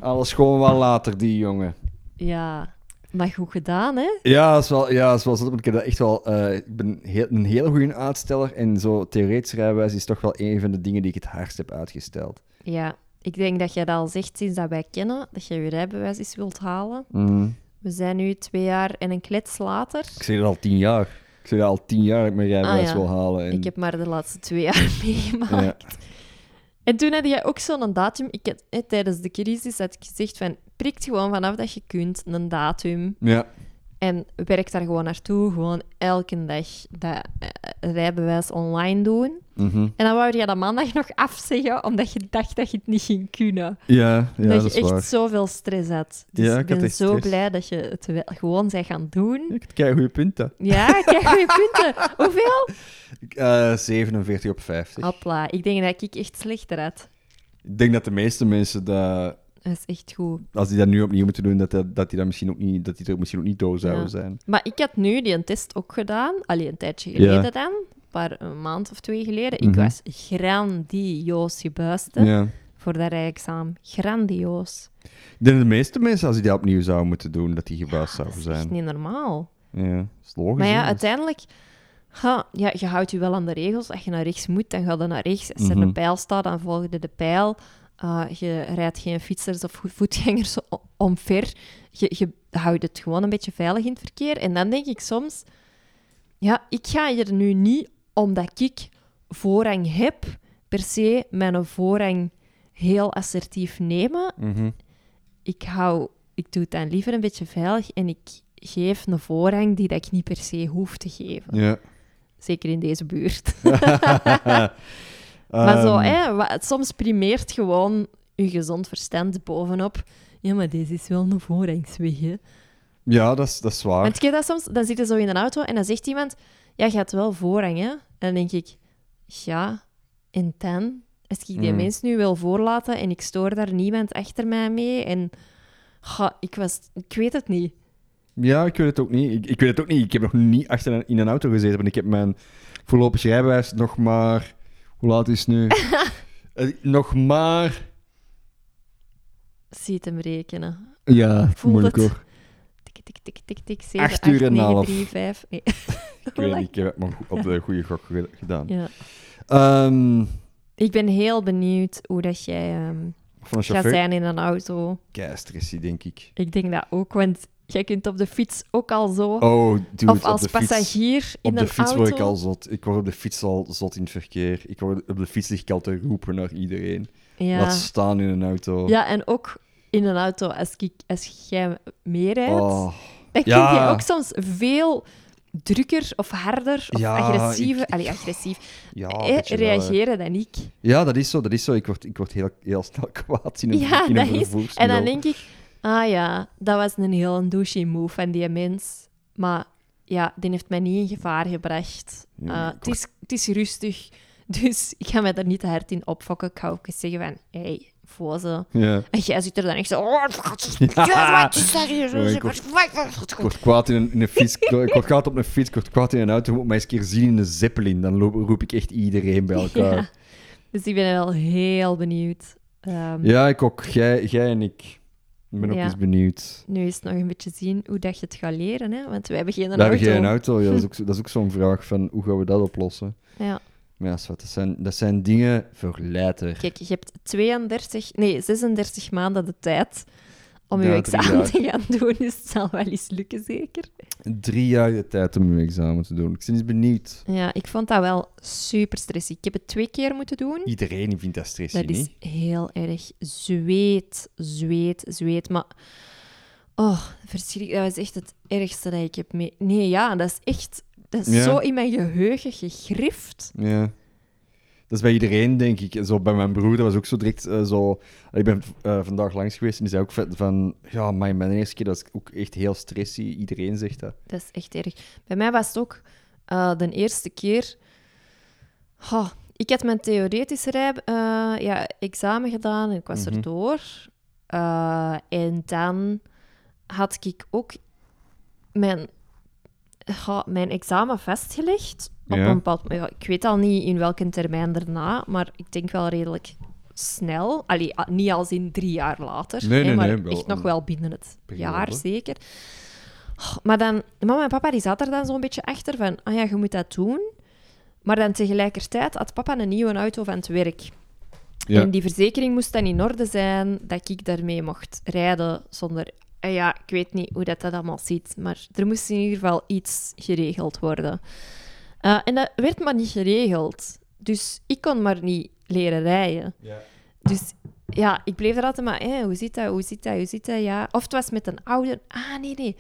B: Alles gewoon wel later, die jongen.
A: ja, maar goed gedaan, hè?
B: Ja, dat is wel, ja, dat is wel zot, want ik heb dat echt wel... eh, ik ben heel, een hele goede uitsteller en zo theoretisch rijbewijs is toch wel een van de dingen die ik het hardst heb uitgesteld.
A: Ja, ik denk dat jij dat al zegt sinds dat wij kennen, dat je je rijbewijs eens wilt halen.
B: Mhm.
A: We We zijn nu twee jaar en een klets later.
B: Ik zeg dat al tien jaar. Ik zeg dat al tien jaar dat ik mijn rijbewijs
A: Ah, ja.
B: wil halen. En...
A: Ik heb maar de laatste twee jaar meegemaakt. En toen had jij ook zo'n datum. Ik had, eh, tijdens de crisis had ik gezegd van... Prikt gewoon vanaf dat je kunt een datum.
B: Ja,
A: En werk daar gewoon naartoe. Gewoon elke dag dat eh, rijbewijs online doen.
B: mhm.
A: En dan wou je dat maandag nog afzeggen, omdat je dacht dat je het niet ging kunnen.
B: ja, ja
A: dat,
B: dat,
A: je
B: is
A: echt
B: waar.
A: zoveel stress had. Dus
B: Ja, ik
A: ik
B: had
A: ben
B: echt
A: zo
B: stress.
A: blij dat je het wel gewoon bent gaan doen.
B: Ik heb kei goede punten.
A: Ja, kijk goede punten. Hoeveel?
B: Eh, 47 op 50.
A: Hopla, ik denk dat ik echt slechter had.
B: Ik denk dat de meeste mensen, dat,
A: Dat is echt goed.
B: als die dat nu opnieuw moeten doen, dat, dat, dat die, dat misschien ook niet, dat die er misschien ook niet door zouden
A: Ja.
B: zijn.
A: Maar ik had nu die een test ook gedaan, alleen een tijdje geleden
B: Ja.
A: dan, een paar een maand of twee geleden.
B: Mhm.
A: Ik was grandioos gebuist
B: Ja.
A: voor dat rijexamen. Grandioos.
B: Ik denk dat de meeste mensen, als die dat opnieuw zouden moeten doen, dat die
A: Dat
B: gebaasd zouden
A: is echt
B: zijn.
A: niet normaal.
B: Ja, dat is logisch.
A: Maar ja,
B: hè.
A: uiteindelijk... Ha, ja, je houdt je wel aan de regels. Als je naar rechts moet, dan ga je naar rechts. Als er
B: Mhm.
A: een pijl staat, dan volg je de pijl. Uh, je rijdt geen fietsers of voetgangers o- omver. Je, je houdt het gewoon een beetje veilig in het verkeer. En dan denk ik soms... Ja, ik ga hier nu niet, omdat ik voorrang heb, per se mijn voorrang heel assertief nemen
B: Mhm.
A: ik hou, ik doe het dan liever een beetje veilig en ik geef een voorrang die dat ik niet per se hoef te geven.
B: ja.
A: Zeker in deze buurt.
B: Ehm,
A: maar zo, hè, wa- soms primeert gewoon je gezond verstand bovenop. Ja, maar deze is wel een voorrangsweg, hè.
B: Ja, dat is, dat is waar.
A: Want ik heb dat soms, dan zit je zo in een auto en dan zegt iemand, ja, je hebt wel voorrang, hè. En dan denk ik, ja, en dan? Als ik die
B: Mm.
A: mens nu wil voorlaten en ik stoor daar niemand achter mij mee en... Ga, ik, was, ik weet het niet.
B: Ja, ik weet het ook niet. Ik, ik weet het ook niet. Ik heb nog niet achter een- in een auto gezeten, want ik heb mijn voorlopig rijbewijs nog maar... Hoe laat is het nu? Eh, nog maar...
A: Ziet hem rekenen.
B: Ja,
A: Voel
B: moeilijk
A: het.
B: hoor.
A: Tik, tik, tik, tik, tik, 7,
B: Acht
A: 8,
B: uur en
A: 9,
B: een half.
A: 3, 5. Nee.
B: Ik weet niet, ik heb het maar goed- op de goede gok ge- gedaan.
A: Ja.
B: Ehm,
A: Ik ben heel benieuwd hoe dat jij ehm,
B: van een
A: gaat
B: chauffeur?
A: zijn in een auto.
B: Keistressy, denk ik.
A: Ik denk dat ook, want jij kunt op de fiets ook al zo.
B: Oh, dude,
A: of als
B: op de fiets.
A: passagier in
B: Op
A: een
B: de fiets
A: auto.
B: word ik al zot. Ik word op de fiets al zot in het verkeer. Ik word, op de fiets lig ik al te roepen naar iedereen.
A: ja.
B: Laat staan in een auto.
A: ja, en ook in een auto als, ik, als jij meerijdt.
B: Oh.
A: Dan
B: Ja.
A: kun je ook soms veel drukker of harder of
B: Ja,
A: agressiever...
B: ik- Oh, ik-
A: Allee, agressief.
B: Ja,
A: eh,
B: weet je wel, hè.
A: reageren dan ik.
B: Ja, dat is zo. Dat is zo. Ik word, ik word heel, heel snel kwaad in een,
A: Ja,
B: in een
A: dat is- En
B: vervoersmiddel.
A: dan denk ik, ah ja, dat was een heel douchey move van die mens. Maar ja, die heeft mij niet in gevaar gebracht. Eh,
B: Ja, ik
A: het, is, het is rustig, dus ik ga mij daar niet te hard in opfokken. Ik ga ook eens zeggen van, hé, hey, voze.
B: Ja.
A: En jij zit er dan echt zo... Oh,
B: Ah. ik word, ik word kwaad in een, in een fiets. Ik word kwaad op een fiets. Ik word kwaad in een auto. Je moet mij eens een keer zien in een zeppelin. Dan loop, roep ik echt iedereen bij elkaar.
A: Ja. Dus ik ben wel heel benieuwd. Ehm,
B: Ja, ik ook. Jij, jij en ik. Ik ben ook
A: Ja.
B: eens benieuwd.
A: Nu is het nog een beetje zien hoe dat je het gaat leren, hè? want wij hebben geen
B: Daar heb
A: auto.
B: je een auto. Ja, dat is ook, dat is ook zo'n vraag van hoe gaan we dat oplossen?
A: Ja.
B: Maar ja, zwart, dat, zijn, dat zijn dingen voor later.
A: Kijk, je hebt 32, nee, 36 maanden de tijd om
B: Ja,
A: je
B: drie
A: examen
B: jaar.
A: te gaan doen. Dus het zal wel eens lukken, zeker.
B: Drie jaar de tijd om je examen te doen. Ik ben eens benieuwd.
A: Ja, ik vond dat wel super stressig. Ik heb het twee keer moeten doen.
B: Iedereen vindt dat stressy,
A: Dat is
B: niet?
A: heel erg zweet, zweet, zweet. Maar, oh, verschrikkelijk. Dat was echt het ergste dat ik heb mee... Nee, ja, dat is echt... Dat is
B: Ja.
A: zo in mijn geheugen gegrift.
B: Ja. Dat is bij iedereen, denk ik. Zo bij mijn broer, dat was ook zo direct eh, zo... Ik ben eh, vandaag langs geweest en die zei ook vet van... Ja, amai, mijn eerste keer, dat is ook echt heel stressy. Iedereen zegt dat.
A: Dat is echt erg. Bij mij was het ook eh, de eerste keer. Ha, ik had mijn theoretische rij, eh, ja, examen gedaan en ik was
B: Mhm.
A: erdoor. Eh, en dan had ik ook mijn, ha, mijn examen vastgelegd. Op
B: Ja.
A: een bepaald, ja, ik weet al niet in welke termijn daarna, maar ik denk wel redelijk snel. Allee, ah, niet als in drie jaar later,
B: Nee,
A: hè,
B: nee,
A: maar
B: nee, wel
A: echt nog
B: een
A: wel binnen het
B: periode.
A: jaar zeker. Oh, Maar dan, mama en papa die zaten er dan zo'n beetje achter van, ah ja, je moet dat doen. Maar dan tegelijkertijd had papa een nieuwe auto van het werk.
B: Ja.
A: En die verzekering moest dan in orde zijn dat ik daarmee mocht rijden zonder En ja, ik weet niet hoe dat, dat allemaal ziet, maar er moest in ieder geval iets geregeld worden. Eh, en dat werd maar niet geregeld. Dus ik kon maar niet leren rijden.
B: Ja.
A: Dus ja, ik bleef er altijd maar, hè, hoe zit dat, hoe zit dat, hoe zit dat, ja. Of het was met een oude... Ah, nee, nee.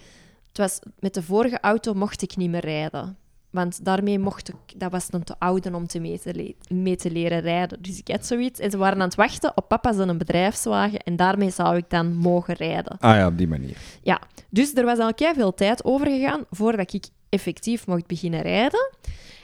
A: Het was met de vorige auto mocht ik niet meer rijden. Want daarmee mocht ik... Dat was dan te oud om te mee te, le- mee te leren rijden. Dus ik had zoiets. En ze waren aan het wachten op papa zijn bedrijfswagen. En daarmee zou ik dan mogen rijden.
B: Ah ja, op die manier.
A: Ja, dus er was al kei veel tijd overgegaan voordat ik effectief mocht beginnen rijden.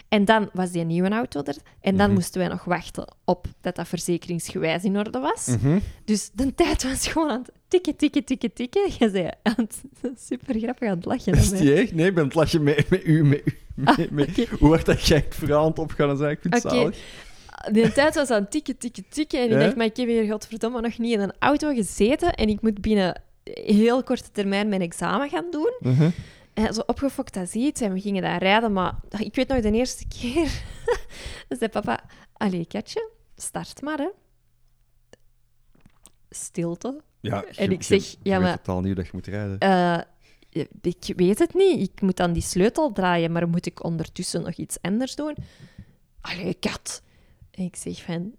A: En dan was die nieuwe auto er. En dan moesten wij nog wachten op dat dat verzekeringsgewijs in orde was.
B: Mhm.
A: Dus de tijd was gewoon aan het tikken, tikken, tikken, tikken. Je zei aan het super grappig aan het lachen.
B: Is
A: hè.
B: die echt? Nee, ik ben het lasje met, met u. Met, u, met,
A: Ah,
B: met-
A: oké.
B: Hoe hard dat jij het verhaal aan het opgaan is, ik vind het
A: Oké.
B: zalig.
A: De tijd was aan het tikken, tikken, tikken. En ik
B: Ja?
A: dacht, maar ik heb hier godverdomme nog niet in een auto gezeten. En ik moet binnen heel korte termijn mijn examen gaan doen.
B: Mhm.
A: En zo opgefokt als iets. En we gingen daar rijden. Maar ik weet nog de eerste keer. zei papa, allee katje, start maar hè. Stilte.
B: Ja,
A: En
B: je-
A: ik zeg,
B: je- je
A: ja,
B: weet
A: maar-
B: totaal niet hoe dat je moet rijden.
A: Eh, ik weet het niet. Ik moet dan die sleutel draaien, maar moet ik ondertussen nog iets anders doen? Allee, kat. En ik zeg van,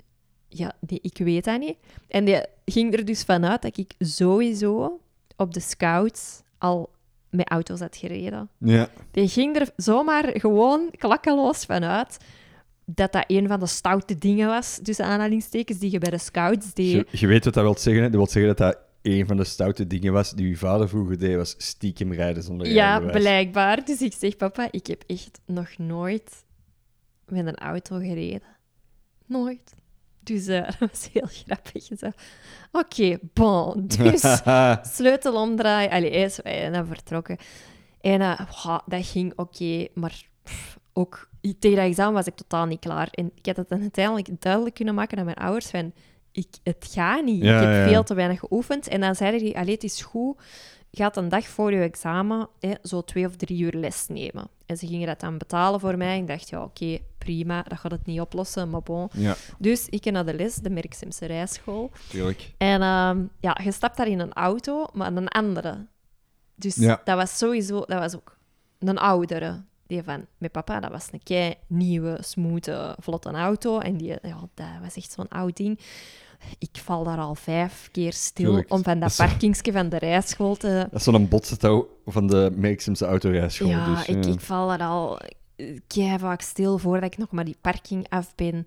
A: ja, nee, ik weet dat niet. En die ging er dus vanuit dat ik sowieso op de scouts al met auto's had gereden.
B: Ja.
A: Die ging er zomaar gewoon klakkeloos vanuit dat dat een van de stoute dingen was, tussen aanhalingstekens, die je bij de scouts deed.
B: Je, je weet wat dat wil zeggen. hè? Dat wil zeggen dat dat een van de stoute dingen was die uw vader vroeger deed, was stiekem rijden zonder
A: Ja,
B: rijbewijs.
A: blijkbaar. Dus ik zeg, papa, ik heb echt nog nooit met een auto gereden. Nooit. Dus eh, dat was heel grappig. Zo, Oké, bon. Dus
B: Ah.
A: sleutel omdraaien. Allee, hij is en dan vertrokken. En eh, goh, dat ging oké, maar pff, ook tegen dat examen was ik totaal niet klaar. En ik had het dan uiteindelijk duidelijk kunnen maken aan mijn ouders van, ik, het gaat niet.
B: Ja,
A: ik heb
B: ja.
A: veel te weinig geoefend. En dan zeiden die, allee, het is goed, je gaat een dag voor je examen hè, zo twee of drie uur les nemen. En ze gingen dat dan betalen voor mij. Ik dacht, ja, oké, prima, dat gaat het niet oplossen, maar bon.
B: Ja,
A: Dus ik ging naar de les, de Merksemse Rijschool.
B: tuurlijk.
A: En ehm, ja, je stapt daar in een auto, maar een andere. Dus
B: Ja.
A: dat was sowieso, dat was ook een oudere. Die van mijn papa, dat was een kei nieuwe, smoothe, vlotte auto. En die, ja, dat was echt zo'n oud ding. Ik val daar al vijf keer stil
B: Tuurlijk.
A: om van
B: Dat
A: dat
B: is-
A: parkingsje van de rijschool te...
B: Dat is zo'n botsetouw van de Merksemse autorijschool.
A: Ja,
B: dus,
A: ik,
B: ja.
A: ik val daar al kei vaak stil voordat ik nog maar die parking af ben.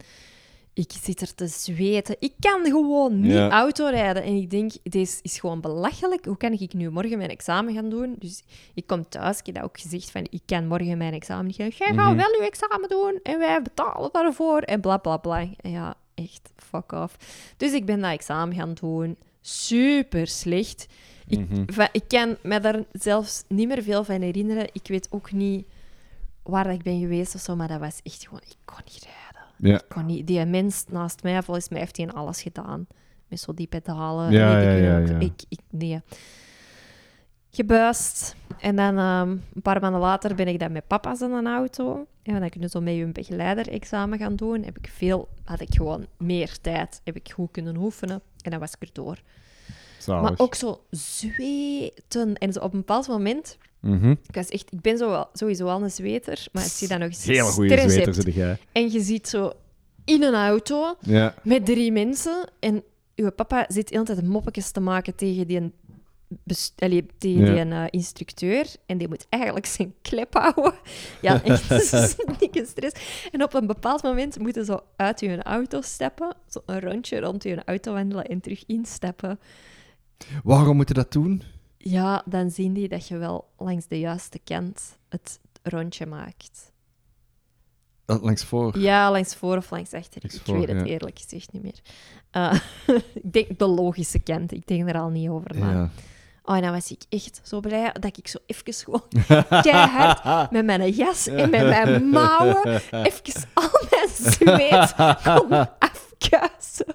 A: Ik zit er te zweten. Ik kan gewoon niet
B: Ja.
A: autorijden. En ik denk, deze is gewoon belachelijk. Hoe kan ik nu morgen mijn examen gaan doen? Dus ik kom thuis, ik heb dat ook gezegd, van ik kan morgen mijn examen niet gaan. Jij gaat wel je examen doen en wij betalen daarvoor en bla bla bla. En ja, echt, fuck off. Dus ik ben dat examen gaan doen. Super slecht. Ik, va- ik kan me daar zelfs niet meer veel van herinneren. Ik weet ook niet waar dat ik ben geweest of zo, maar dat was echt gewoon... Ik kon niet rijden.
B: Ja.
A: Ik kon niet... Die mens naast mij, volgens mij heeft hij alles gedaan. Met zo die pedalen.
B: Ja,
A: en weet ik
B: ja,
A: het
B: ja,
A: ook.
B: ja.
A: Ik, ik, nee. Gebuist. En dan ehm, een paar maanden later ben ik dan met papa's in een auto. En dan kunnen zo met hun begeleider examen gaan doen. Heb ik veel... Had ik gewoon meer tijd. Heb ik goed kunnen oefenen. En dan was ik erdoor.
B: Zalig.
A: Maar ook zo zweten. En zo op een bepaald moment...
B: Mhm.
A: Ik, was echt, ik ben zo wel- sowieso al een zweter, maar als je dan nog eens
B: Heel goede
A: stress
B: zweter
A: hebt
B: zit jij.
A: en je zit zo in een auto
B: Ja.
A: met drie mensen en uw papa zit de hele tijd moppetjes te maken tegen die, bes- allee, tegen
B: Ja.
A: die eh, instructeur en die moet eigenlijk zijn klep houden. Ja, echt zo'n dikke stress. En op een bepaald moment moeten ze uit hun auto stappen, zo een rondje rond hun auto wandelen en terug instappen.
B: Waarom moeten dat doen?
A: Ja, dan zien die dat je wel langs de juiste kant het rondje maakt.
B: Dat langs voor.
A: Ja, langs voor of langs achter.
B: Langs
A: ik
B: voor,
A: weet het
B: ja.
A: eerlijk gezegd niet meer. Eh, ik denk de logische kant. Ik denk er al niet over na.
B: Ja.
A: Oh, en dan was ik echt zo blij dat ik zo even gewoon keihard met mijn jas en met mijn mouwen even al mijn zweet kon afkuisen.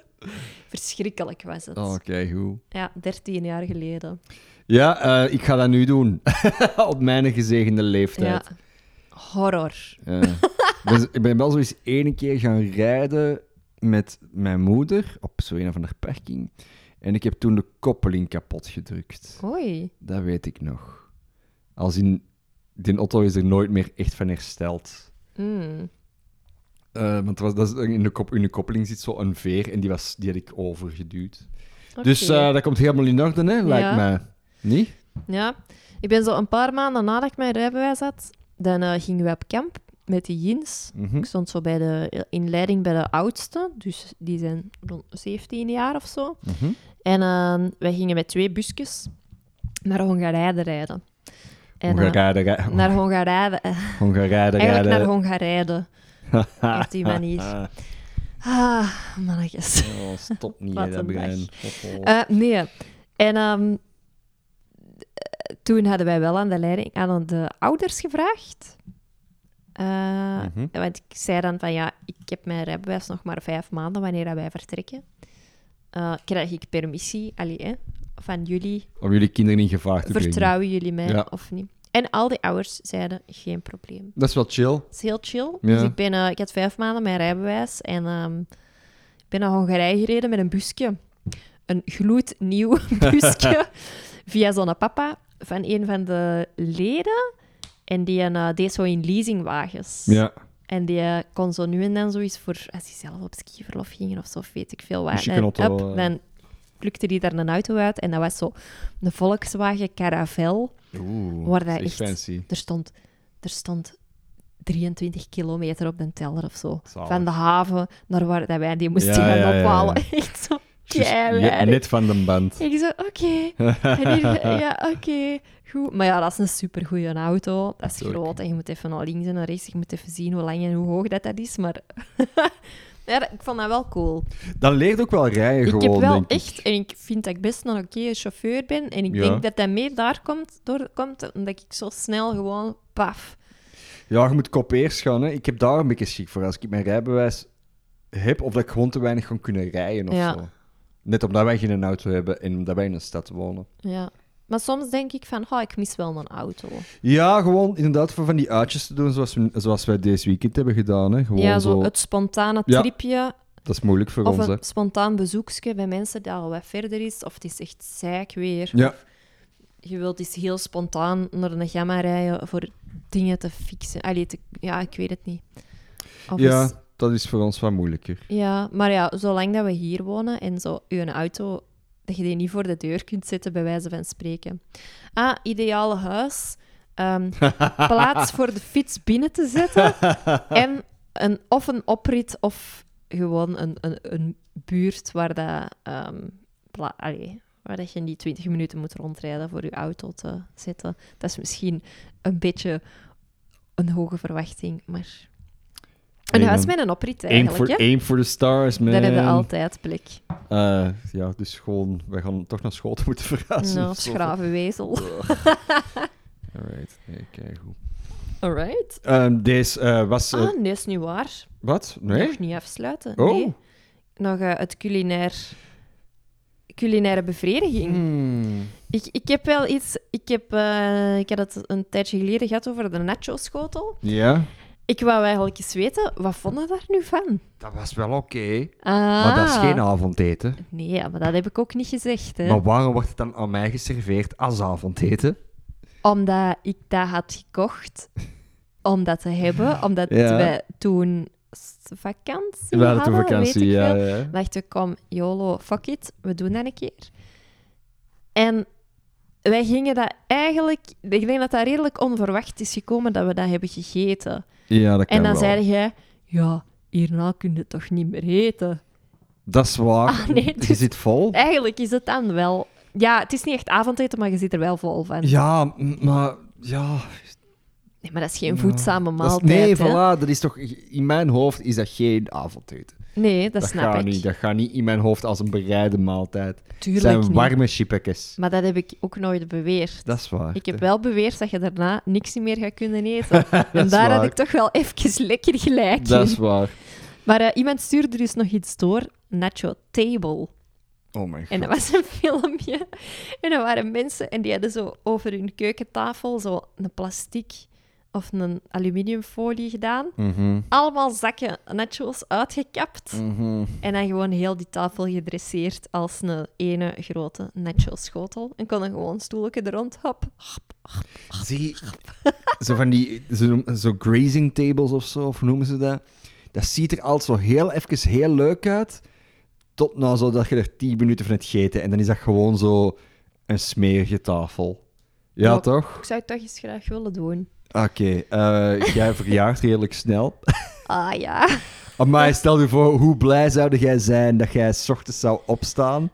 A: Verschrikkelijk was het.
B: Oh, Oké, goed.
A: Ja, 13 jaar geleden.
B: Ja, eh, ik ga dat nu doen. Op mijn gezegende leeftijd. Eh,
A: Ja. Horror.
B: Ja. Dus ik ben wel zoiets één keer gaan rijden met mijn moeder op zo'n een of andere parking. En ik heb toen de koppeling kapot gedrukt.
A: Oei.
B: Dat weet ik nog. Als in, die auto is er nooit meer echt van hersteld.
A: Mm.
B: Eh, want er was, dat is, in, de kop, in de koppeling zit zo'n veer en die, was, die had ik overgeduwd.
A: Oké.
B: Dus eh, dat komt helemaal in orde, hè, lijkt
A: Ja.
B: mij. Niet?
A: Ja, ik ben zo een paar maanden nadat ik mijn rijbewijs had, dan eh, gingen we op kamp met die jeans.
B: Mhm.
A: Ik stond zo bij de, in leiding bij de oudste, dus die zijn rond 17 jaar of zo.
B: Mhm.
A: En eh, wij gingen met twee busjes naar Hongarije rijden. En, eh,
B: Hongarije, rij-
A: naar Hongarije, eh,
B: Hongarije,
A: eigenlijk naar
B: rijden.
A: Hongarije. op die manier.
B: Ah,
A: Ah, mannetjes.
B: oh, stop niet,
A: Wat
B: hè, dat
A: een
B: brein.
A: dag.
B: Hoppel.
A: Eh, nee. En ehm, eh, toen hadden wij wel aan de leiding aan de ouders gevraagd. Eh,
B: Mhm.
A: Want ik zei dan van ja, ik heb mijn rijbewijs nog maar vijf maanden wanneer dat wij vertrekken. Eh, krijg ik permissie allee, hè, van jullie?
B: Om jullie kinderen in gevaar te brengen.
A: Vertrouwen jullie mij
B: Ja.
A: of niet? En al die ouders zeiden geen probleem.
B: Dat is wel chill.
A: Het is heel chill.
B: Ja.
A: Dus ik, ben, eh, ik had vijf maanden mijn rijbewijs en ehm, ik ben naar Hongarije gereden met een busje. Een gloednieuw busje via zo'n papa van een van de leden. En die eh, deed zo in leasingwagens.
B: Ja.
A: En die eh, kon zo nu en dan zoiets voor... Als hij zelf op skiverlof ging of zo, of weet ik veel waar.
B: Moest je
A: dan,
B: kunnen auto,
A: hup,
B: eh.
A: dan plukte hij daar een auto uit. En dat was zo een Volkswagen Caravelle.
B: Oeh,
A: Waar
B: dat
A: dat
B: is
A: echt-
B: fancy.
A: Er stond, er stond 23 kilometer op de teller of zo.
B: Zalig.
A: Van de haven naar waar dat wij die moesten
B: Ja,
A: gaan
B: ja, ja, ja.
A: ophalen. Echt zo
B: Just- ja,
A: keihard.
B: net van de band.
A: Ik zo, oké. En hier- ja, oké. Goed. Maar ja, dat is een supergoeie auto. Dat is
B: Natuurlijk.
A: groot. En je moet even naar links en naar rechts. Je moet even zien hoe lang en hoe hoog dat, dat is. Maar ja, dat- ik vond dat wel cool.
B: Dan leert ook wel rijden
A: Ik
B: gewoon,
A: heb wel
B: denk ik.
A: echt, en ik vind dat ik best een oké chauffeur ben. En ik
B: Ja.
A: denk dat dat meer daar komt, door komt, omdat ik zo snel gewoon paf.
B: Ja, je moet kopeers gaan. Hè. Ik heb daar een beetje schik voor. Als ik mijn rijbewijs heb, of dat ik gewoon te weinig kan kunnen rijden of
A: Ja.
B: zo. Net omdat wij geen auto hebben en omdat wij in een stad wonen.
A: Ja. Maar soms denk ik van, oh, ik mis wel een auto.
B: Ja, gewoon inderdaad voor van die uitjes te doen zoals, we, zoals wij deze weekend hebben gedaan. Hè. Gewoon
A: ja,
B: zo,
A: zo het spontane
B: Ja,
A: tripje.
B: Dat is moeilijk voor
A: of
B: ons. Hè.
A: een spontaan bezoekje bij mensen die al wat verder is. Of het is echt zeik weer.
B: Ja.
A: Je wilt eens heel spontaan naar een gamma rijden voor dingen te fixen. Allee, te- ja, ik weet het niet. Of
B: ja,
A: eens-
B: dat is voor ons wat moeilijker.
A: ja, maar ja, zolang dat we hier wonen en zo je auto, dat je die niet voor de deur kunt zetten, bij wijze van spreken. Ah, ideaal huis. Ehm, plaats voor de fiets binnen te zetten. En een, of een oprit of gewoon een, een, een buurt waar, dat, ehm, pla- allee, waar dat je niet 20 minuten moet rondrijden voor je auto te zetten. Dat is misschien een beetje een hoge verwachting, maar... Een
B: Hey,
A: huis
B: man.
A: met een oprit
B: Aim for,
A: eigenlijk, hè?
B: aim for the stars, man.
A: Daar hebben we altijd plek.
B: Eh, ja, dus gewoon, wij gaan toch naar school moeten verhuizen.
A: Nou,
B: of zo.
A: schravenwezel.
B: Alright, nee, kijk goed.
A: Alright.
B: deze eh, was. eh,
A: Ah, nee, is niet waar.
B: wat? Nee?
A: Nog niet afsluiten.
B: Oh.
A: Nee. Nog eh, het culinair... culinaire bevrediging.
B: Hmm.
A: Ik, ik heb wel iets... Ik, heb, eh, ik had het een tijdje geleden gehad over de nacho-schotel.
B: Ja,
A: Ik wou eigenlijk eens weten, wat vonden daar nu van?
B: dat was wel oké.
A: Ah.
B: Maar dat is geen avondeten.
A: Nee, maar dat heb ik ook niet gezegd. Hè.
B: Maar waarom wordt het dan aan mij geserveerd als avondeten?
A: Omdat ik dat had gekocht om dat te hebben. Omdat
B: Ja.
A: wij toen s- vakantie hadden, weet ik veel.
B: ja.
A: dacht ik, kom, YOLO, fuck it, we doen dat een keer. En wij gingen dat eigenlijk... Ik denk dat dat redelijk onverwacht is gekomen dat we dat hebben gegeten.
B: Ja, dat kan
A: en dan
B: wel.
A: zei jij, ja, hierna kun je het toch niet meer eten?
B: Dat is waar.
A: Ah, nee,
B: Je
A: dus-
B: zit vol.
A: Eigenlijk is het dan wel... Ja, het is niet echt avondeten, maar je zit er wel vol van.
B: Ja, m- maar... Ja,
A: Nee, maar dat is geen voedzame
B: dat
A: maaltijd,
B: is, nee,
A: hè?
B: voilà, dat is toch, in mijn hoofd is dat geen avondeten.
A: Nee, dat, snap
B: gaat
A: ik.
B: niet. Dat gaat niet in mijn hoofd als een bereide maaltijd. Het
A: Tuurlijk
B: zijn
A: niet.
B: warme chippekes.
A: Maar dat heb ik ook nooit beweerd.
B: Dat is waar.
A: Ik heb wel beweerd dat je daarna niks meer gaat kunnen eten. en daar
B: waar.
A: had ik toch wel even lekker gelijk
B: Dat
A: in.
B: is waar.
A: Maar eh, iemand stuurde dus nog iets door, Nacho Table.
B: Oh mijn god.
A: En dat was een filmpje. En er waren mensen en die hadden zo over hun keukentafel zo een plastic of een aluminiumfolie gedaan. Allemaal zakken nachos uitgekapt.
B: Mhm.
A: En dan gewoon heel die tafel gedresseerd als een ene grote nacho-schotel. En kon dan gewoon stoeltje er rond. Hop.
B: Zie, zo van die zo, noem- zo grazing tables of zo, of hoe noemen ze dat? Dat ziet er altijd zo heel even heel leuk uit, tot nou zo dat je er 10 minuten van het geten en dan is dat gewoon zo een smerige tafel. Ja,
A: Ja.
B: toch?
A: Ik zou het toch eens graag willen doen.
B: Oké, eh, jij verjaart redelijk snel.
A: Ah ja.
B: Maar stel je voor, hoe blij zou jij zijn dat jij 's ochtends zou opstaan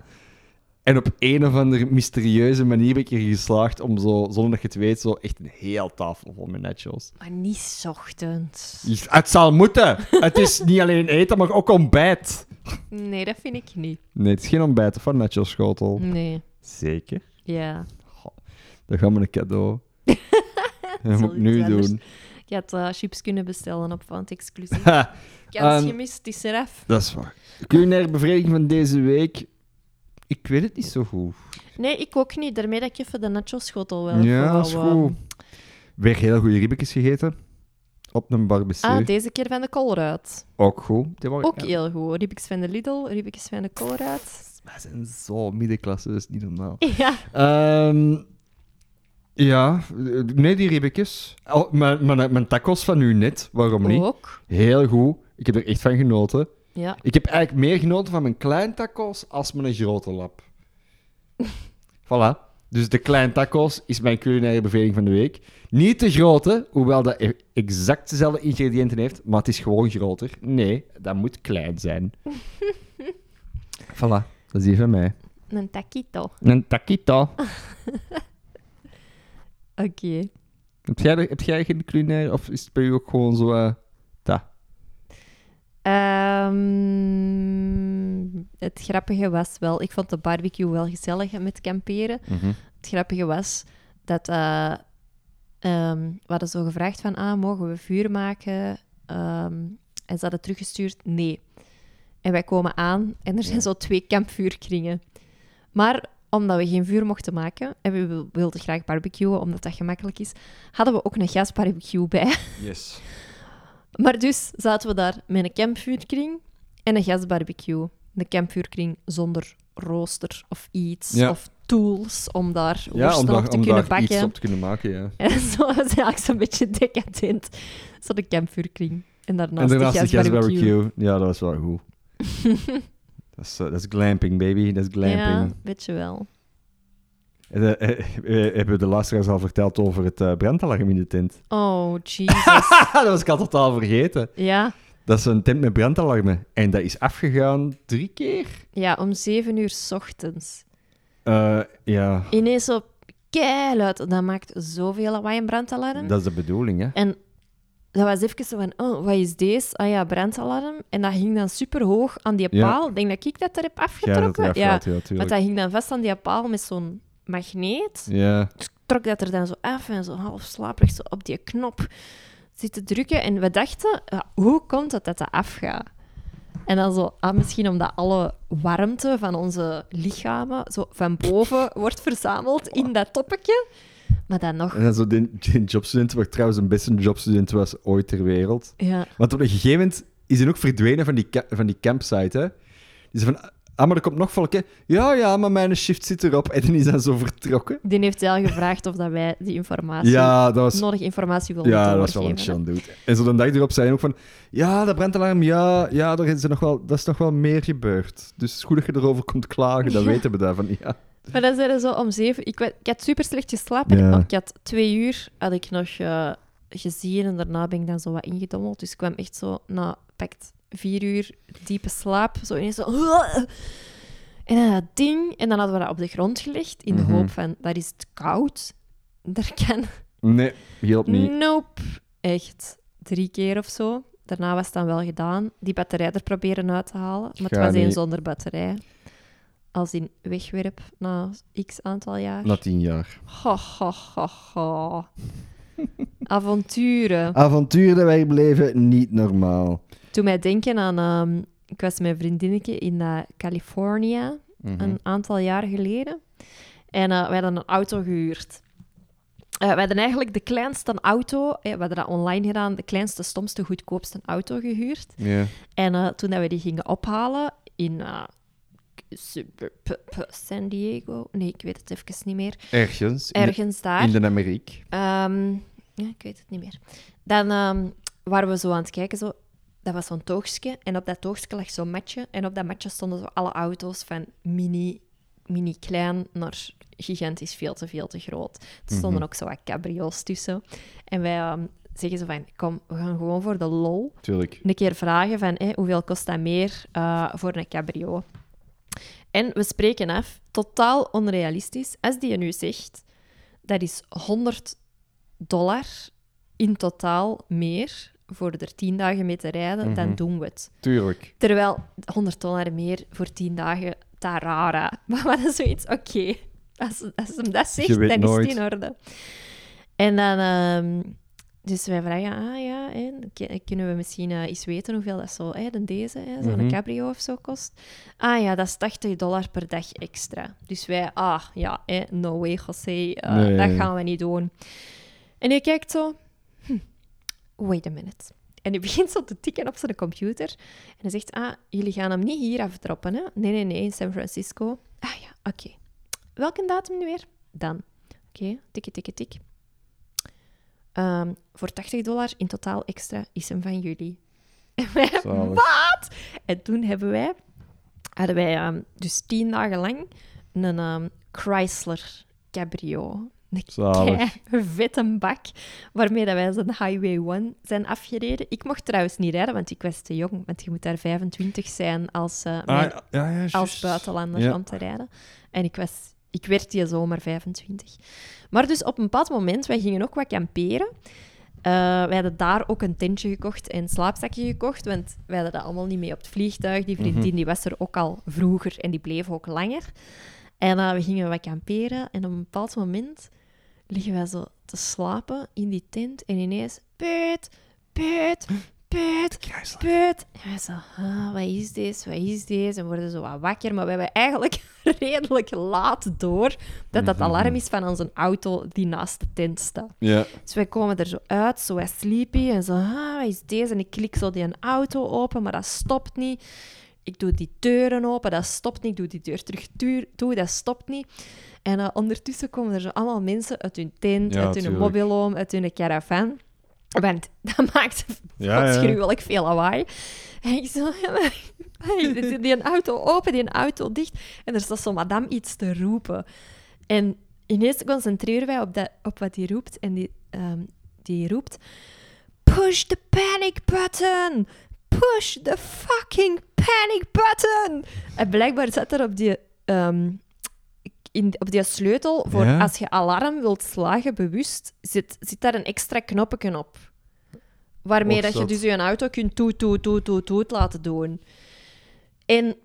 B: en op een of andere mysterieuze manier ben je erin geslaagd om zo, zonder dat je het weet, zo echt een heel tafel vol met nachos.
A: Maar niet 's ochtends.
B: Het zal moeten. Het is niet alleen eten, maar ook ontbijt.
A: Nee, dat vind ik niet.
B: Nee, het is geen ontbijt van Nacho Schotel.
A: Nee.
B: Zeker.
A: Ja.
B: Dat gaan we een cadeau. dat moet
A: zal
B: ik nu
A: iets anders.
B: doen.
A: Ik had eh, chips kunnen bestellen op Want Exclusief.
B: Ha,
A: Kans
B: Ehm,
A: gemist, die is eraf.
B: dat is waar. Culinaire bevrediging van deze week. Ik weet het niet zo goed.
A: Nee, ik ook niet. Daarmee dat ik even de nacho-schotel wel
B: ja,
A: wou,
B: dat is
A: ehm,
B: goed. Weer heel goede ribbetjes gegeten. Op een barbecue.
A: Ah, deze keer van de Colruyt.
B: Ook goed. Die waren-
A: Ook
B: Oh, ja,
A: heel goed. Riebekes van de Lidl, riebekes van de Colruyt.
B: Wij zijn zo middenklasse, dat is niet normaal.
A: Ja.
B: Ehm, ja, nee, die ribbetjes. Oh, mijn, mijn, mijn tacos van u net, waarom niet?
A: Ook.
B: Heel goed. Ik heb er echt van genoten.
A: Ja.
B: Ik heb eigenlijk meer genoten van mijn klein tacos als mijn grote lap. voilà. Dus de klein tacos is mijn culinaire beveling van de week. Niet de grote, hoewel dat e- exact dezelfde ingrediënten heeft, maar het is gewoon groter. Nee, dat moet klein zijn. voilà, dat is die van mij.
A: Een taquito.
B: Een taquito.
A: Oké.
B: Heb jij, heb jij geen culinaire, of is het bij u ook gewoon zo... eh, dat?
A: Ehm, het grappige was wel... Ik vond de barbecue wel gezellig met kamperen.
B: Mhm.
A: Het grappige was dat... eh, ehm, we hadden zo gevraagd van... Ah, mogen we vuur maken? Ehm, en ze hadden teruggestuurd, nee. En wij komen aan en er zijn zo twee kampvuurkringen. Maar omdat we geen vuur mochten maken en we wil- wilden graag barbecuen, omdat dat gemakkelijk is, hadden we ook een gasbarbecue bij.
B: Yes.
A: Maar dus zaten we daar met een kampvuurkring en een gasbarbecue. Een kampvuurkring zonder rooster of iets,
B: Ja.
A: of tools om daar
B: Ja,
A: worsten
B: om
A: op
B: daar,
A: te
B: om
A: kunnen
B: daar iets
A: bakken.
B: op te kunnen maken, ja.
A: En zo was eigenlijk zo'n beetje decadent. Zo de kampvuurkring en
B: En
A: daarnaast,
B: daarnaast de gas
A: gasbarbecue.
B: barbecue. Ja, dat was wel goed. dat, is, eh, dat is glamping, baby. Dat is
A: Ja,
B: glamping.
A: weet je wel.
B: En, eh, eh, eh, hebben we de luisteraars al verteld over het eh, brandalarm in de tent?
A: Oh, Jesus.
B: dat was ik al totaal vergeten.
A: ja.
B: Dat is een tent met brandalarmen. En dat is afgegaan drie keer.
A: ja, om zeven uur 's ochtends.
B: Eh, ja,
A: Ineens zo keiluid. Dat maakt zoveel lawaai, een brandalarm.
B: dat is de bedoeling, hè.
A: En dat was even zo van, oh, wat is deze? Ah ja, brandalarm. En dat hing dan super hoog aan die
B: Ja.
A: paal. Ik denk dat ik dat er heb
B: Ja, dat
A: afgetrokken.
B: eraf
A: ja,
B: gaat, ja,
A: want
B: tuurlijk.
A: dat hing dan vast aan die paal met zo'n magneet.
B: Ja,
A: Dus ik trok dat er dan zo af en zo half slaperig zo op die knop zitten drukken. En we dachten, ja, hoe komt het dat dat afgaat? En dan zo, ah, misschien omdat alle warmte van onze lichamen zo van boven wordt verzameld in dat toppetje. Maar dan nog,
B: en dan zo die, die jobstudent, wat trouwens een beste jobstudent was ooit ter wereld.
A: ja.
B: Want op een gegeven moment is hij ook verdwenen van die, ca- van die campsite. Hè? Die zei van, ah, maar er komt nog volk, hè? Ja, ja, maar mijn shift zit erop. En dan is hij zo vertrokken.
A: Die heeft wel gevraagd of dat wij die informatie,
B: Ja, dat was,
A: nodige informatie wilden
B: ja, dat was wel
A: doorgeven.
B: een chill dude. En zo de dag erop zei hij ook van, ja, dat brandalarm, ja, ja er is er nog wel, dat is nog wel meer gebeurd. Dus het is goed dat je erover komt klagen, dat
A: Ja.
B: weten we daarvan. Ja.
A: Maar dan zijn we zo om zeven... Ik, werd- ik had super slecht geslapen. Ik-
B: Ja.
A: Ik, had twee uur had ik nog eh, gezien en daarna ben ik dan zo wat ingedommeld. Dus ik kwam echt zo na pakt vier uur diepe slaap. Zo ineens zo... En dan dat ding. En dan hadden we dat op de grond gelegd in de
B: Mhm.
A: hoop van, daar is het koud. Daar kan
B: Nee, hielp
A: Mm.
B: niet.
A: Nope. Echt. Drie keer of zo. Daarna was het dan wel gedaan. Die batterij er proberen uit te halen. Maar het
B: Ga
A: was één
B: niet.
A: zonder batterij. Als in wegwerp na x aantal jaar.
B: Na tien jaar.
A: Ho, ho, ho, ho. Avonturen.
B: Avonturen dat wij bleven, niet normaal.
A: Toen mij denken aan... ehm, ik was met mijn vriendinnetje in eh, Californië.
C: Mhm.
A: een aantal jaar geleden. En eh, we hadden een auto gehuurd. Eh, we hadden eigenlijk de kleinste auto, eh, we hadden dat online gedaan, de kleinste, stomste, goedkoopste auto gehuurd.
C: Ja.
A: En eh, toen dat we die gingen ophalen in eh, super, p- p- San Diego, nee, ik weet het even niet meer,
C: Ergens. in de-
A: ergens daar.
C: In de Amerik.
A: Ehm, ja, ik weet het niet meer. Dan ehm, waren we zo aan het kijken, zo, dat was zo'n toogstje. En op dat toogstje lag zo'n matje. En op dat matje stonden zo alle auto's van mini, mini klein naar gigantisch veel te veel te groot. Er stonden ook zo wat cabrio's tussen. En wij ehm, zeggen zo van, kom, we gaan gewoon voor de lol
C: Tuurlijk.
A: een keer vragen van hé, hoeveel kost dat meer eh, voor een cabrio. En we spreken af, totaal onrealistisch, als die je nu zegt, dat is 100 dollar in totaal meer voor er 10 dagen mee te rijden, dan doen we het.
C: Tuurlijk.
A: Terwijl 100 dollar meer voor 10 dagen, tarara. Maar wat is zoiets, oké. Als, als hem dat
B: Je
A: zegt,
B: weet
A: dan
B: nooit.
A: is het in orde. En dan... ehm, dus wij vragen, ah ja, hè, k- kunnen we misschien eh, eens weten hoeveel dat zo, hè, dan deze, hè, zo'n
C: Mhm.
A: cabrio of zo kost? Ah ja, dat is 80 dollar per dag extra. Dus wij, ah ja, hè, no way, José, eh,
C: Nee.
A: dat gaan we niet doen. En hij kijkt zo, hm, wait a minute. En hij begint zo te tikken op zijn computer. En hij zegt, ah, jullie gaan hem niet hier afdroppen, hè? Nee, nee, nee, in San Francisco. Ah ja, oké. Welke datum nu weer? Dan. Oké, tikken, tikken, tik. Ehm, voor 80 dollar in totaal extra is hem van jullie. En wij,
C: Zalig.
A: wat? En toen hebben wij, hadden wij ehm, dus tien dagen lang een ehm, Chrysler Cabrio. Een
C: Zalig.
A: kei vette bak waarmee dat wij zijn Highway 1 zijn afgereden. Ik mocht trouwens niet rijden, want ik was te jong. Want je moet daar 25 zijn als, eh,
B: Ah,
A: mijn-
C: ja, ja, juist.
A: als buitenlander
C: Ja.
A: om te rijden. En ik, was, ik werd die zomer 25. Maar dus op een bepaald moment, wij gingen ook wat kamperen. Eh, wij hadden daar ook een tentje gekocht en een slaapzakje gekocht, want wij hadden dat allemaal niet mee op het vliegtuig. Die vriendin die was er ook al vroeger en die bleef ook langer. En eh, we gingen wat kamperen en op een bepaald moment liggen wij zo te slapen in die tent en ineens... Put, put, put, put. En wij zo, ah, wat is dit, wat is dit? En we worden zo wat wakker, maar we hebben eigenlijk redelijk laat door dat
C: Mhm,
A: dat alarm is van onze auto die naast de tent staat.
C: Ja.
A: Dus wij komen er zo uit, zo wat sleepy en zo, ah, wat is deze? En ik klik zo die auto open, maar dat stopt niet. Ik doe die deuren open, dat stopt niet. Ik doe die deur terug tuur- toe, dat stopt niet. En eh, ondertussen komen er zo allemaal mensen uit hun tent,
C: Ja,
A: uit hun
C: tuurlijk.
A: mobiloom, uit hun caravan. Want dat maakt
C: Ja, ja.
A: afschuwelijk veel lawaai. En ik zo, hey, die, die een auto open, die een auto dicht. En er staat zo'n madame iets te roepen. En ineens concentreren wij op, dat, op wat die roept. En die, ehm, die roept... Push the panic button! Push the fucking panic button! En blijkbaar zat er op die... ehm, in, op die sleutel voor
C: Ja?
A: als je alarm wilt slagen, bewust, zit, zit daar een extra knopje op. Waarmee
C: Och,
A: dat je
C: zot.
A: dus je auto kunt toet, toet, toet, toet, toet laten doen. En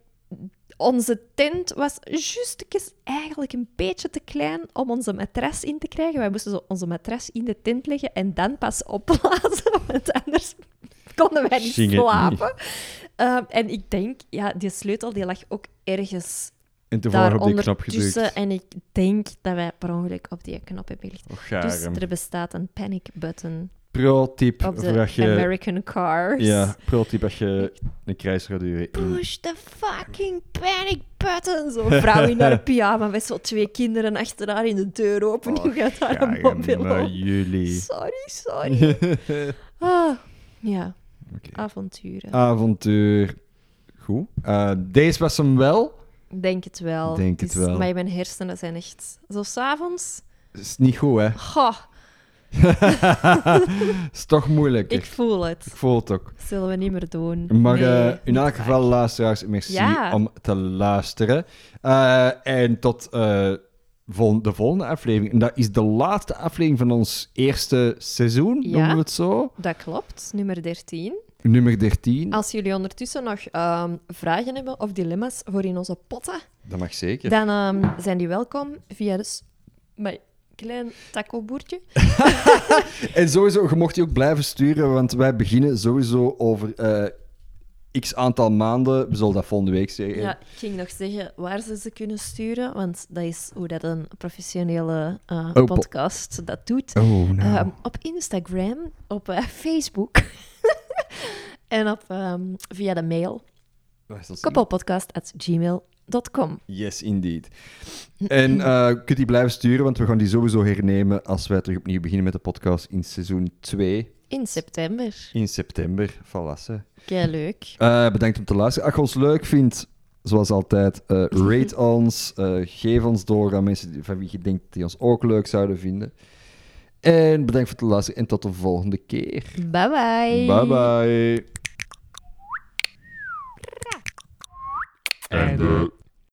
A: onze tent was justjes eigenlijk een beetje te klein om onze matras in te krijgen. Wij moesten zo onze matras in de tent leggen en dan pas opblazen, want anders konden wij niet
C: Ging het
A: slapen. Ehm, en ik denk, ja, die sleutel die lag ook ergens
C: En toevallig
A: daar
C: op die knop
A: ondertussen.
C: geduwd.
A: En ik denk dat wij per ongeluk op die knop hebben gelegd.
C: Och,
A: Dus
C: gaarem.
A: er bestaat een panic button
C: Pro-tip
A: op
C: voor
A: de
C: als je...
A: American cars.
C: Ja, pro-tip als je een kruis gaat duwen in
A: Push the fucking panic button. Zo'n vrouw in haar pyjama met zo'n twee kinderen achter haar in de deur open. Die gaat haar een mobiel
C: maar
A: op.
C: jullie.
A: Sorry, sorry. Ah, ja,
C: Oké.
A: avonturen.
B: Ah. Avontuur. Goed. Eh, deze was hem wel.
A: Denk het wel.
B: Denk het
A: Dus-
B: wel.
A: Maar mijn hersenen zijn echt... Zo s'avonds...
B: Is niet goed, hè?
A: Goh,
B: Is toch moeilijk.
A: ik voel het.
B: Ik voel het ook.
A: Zullen we niet meer doen.
B: Maar
A: Nee,
B: eh, in
A: niet
B: elk
A: vaak.
B: geval, luisteraars, merci
A: Ja.
B: om te luisteren. Eh, en tot eh, vol- de volgende aflevering. En dat is de laatste aflevering van ons eerste seizoen,
A: Ja.
B: noemen we het zo.
A: Dat klopt, nummer 13.
B: Nummer 13.
A: Als jullie ondertussen nog ehm, vragen hebben of dilemma's voor in onze potten,
B: Dat mag zeker.
A: dan ehm, zijn die welkom via dus mijn klein taco-boertje.
B: En sowieso, je mocht die ook blijven sturen, want wij beginnen sowieso over eh, x aantal maanden, we zullen dat volgende week zeggen.
A: Ja, ik ging nog zeggen waar ze ze kunnen sturen, want dat is hoe dat een professionele eh,
B: po-
A: podcast dat doet.
B: Oh, nou.
A: Ehm, op Instagram, op eh, Facebook en op, ehm, via de mail
B: Waar is dat zo?
A: koppelpodcast.gmail.com.
B: Yes, indeed. En eh je kunt die blijven sturen, want we gaan die sowieso hernemen als wij terug opnieuw beginnen met de podcast in seizoen 2
A: In september.
B: in september. Valassen.
A: Kei leuk.
B: Eh, bedankt om te luisteren. Als je ons leuk vindt, zoals altijd, eh, rate ons. eh, geef ons door aan mensen die- van wie je denkt die ons ook leuk zouden vinden. En bedankt voor het luisteren en tot de volgende keer.
A: Bye bye.
B: Bye bye.
D: Einde.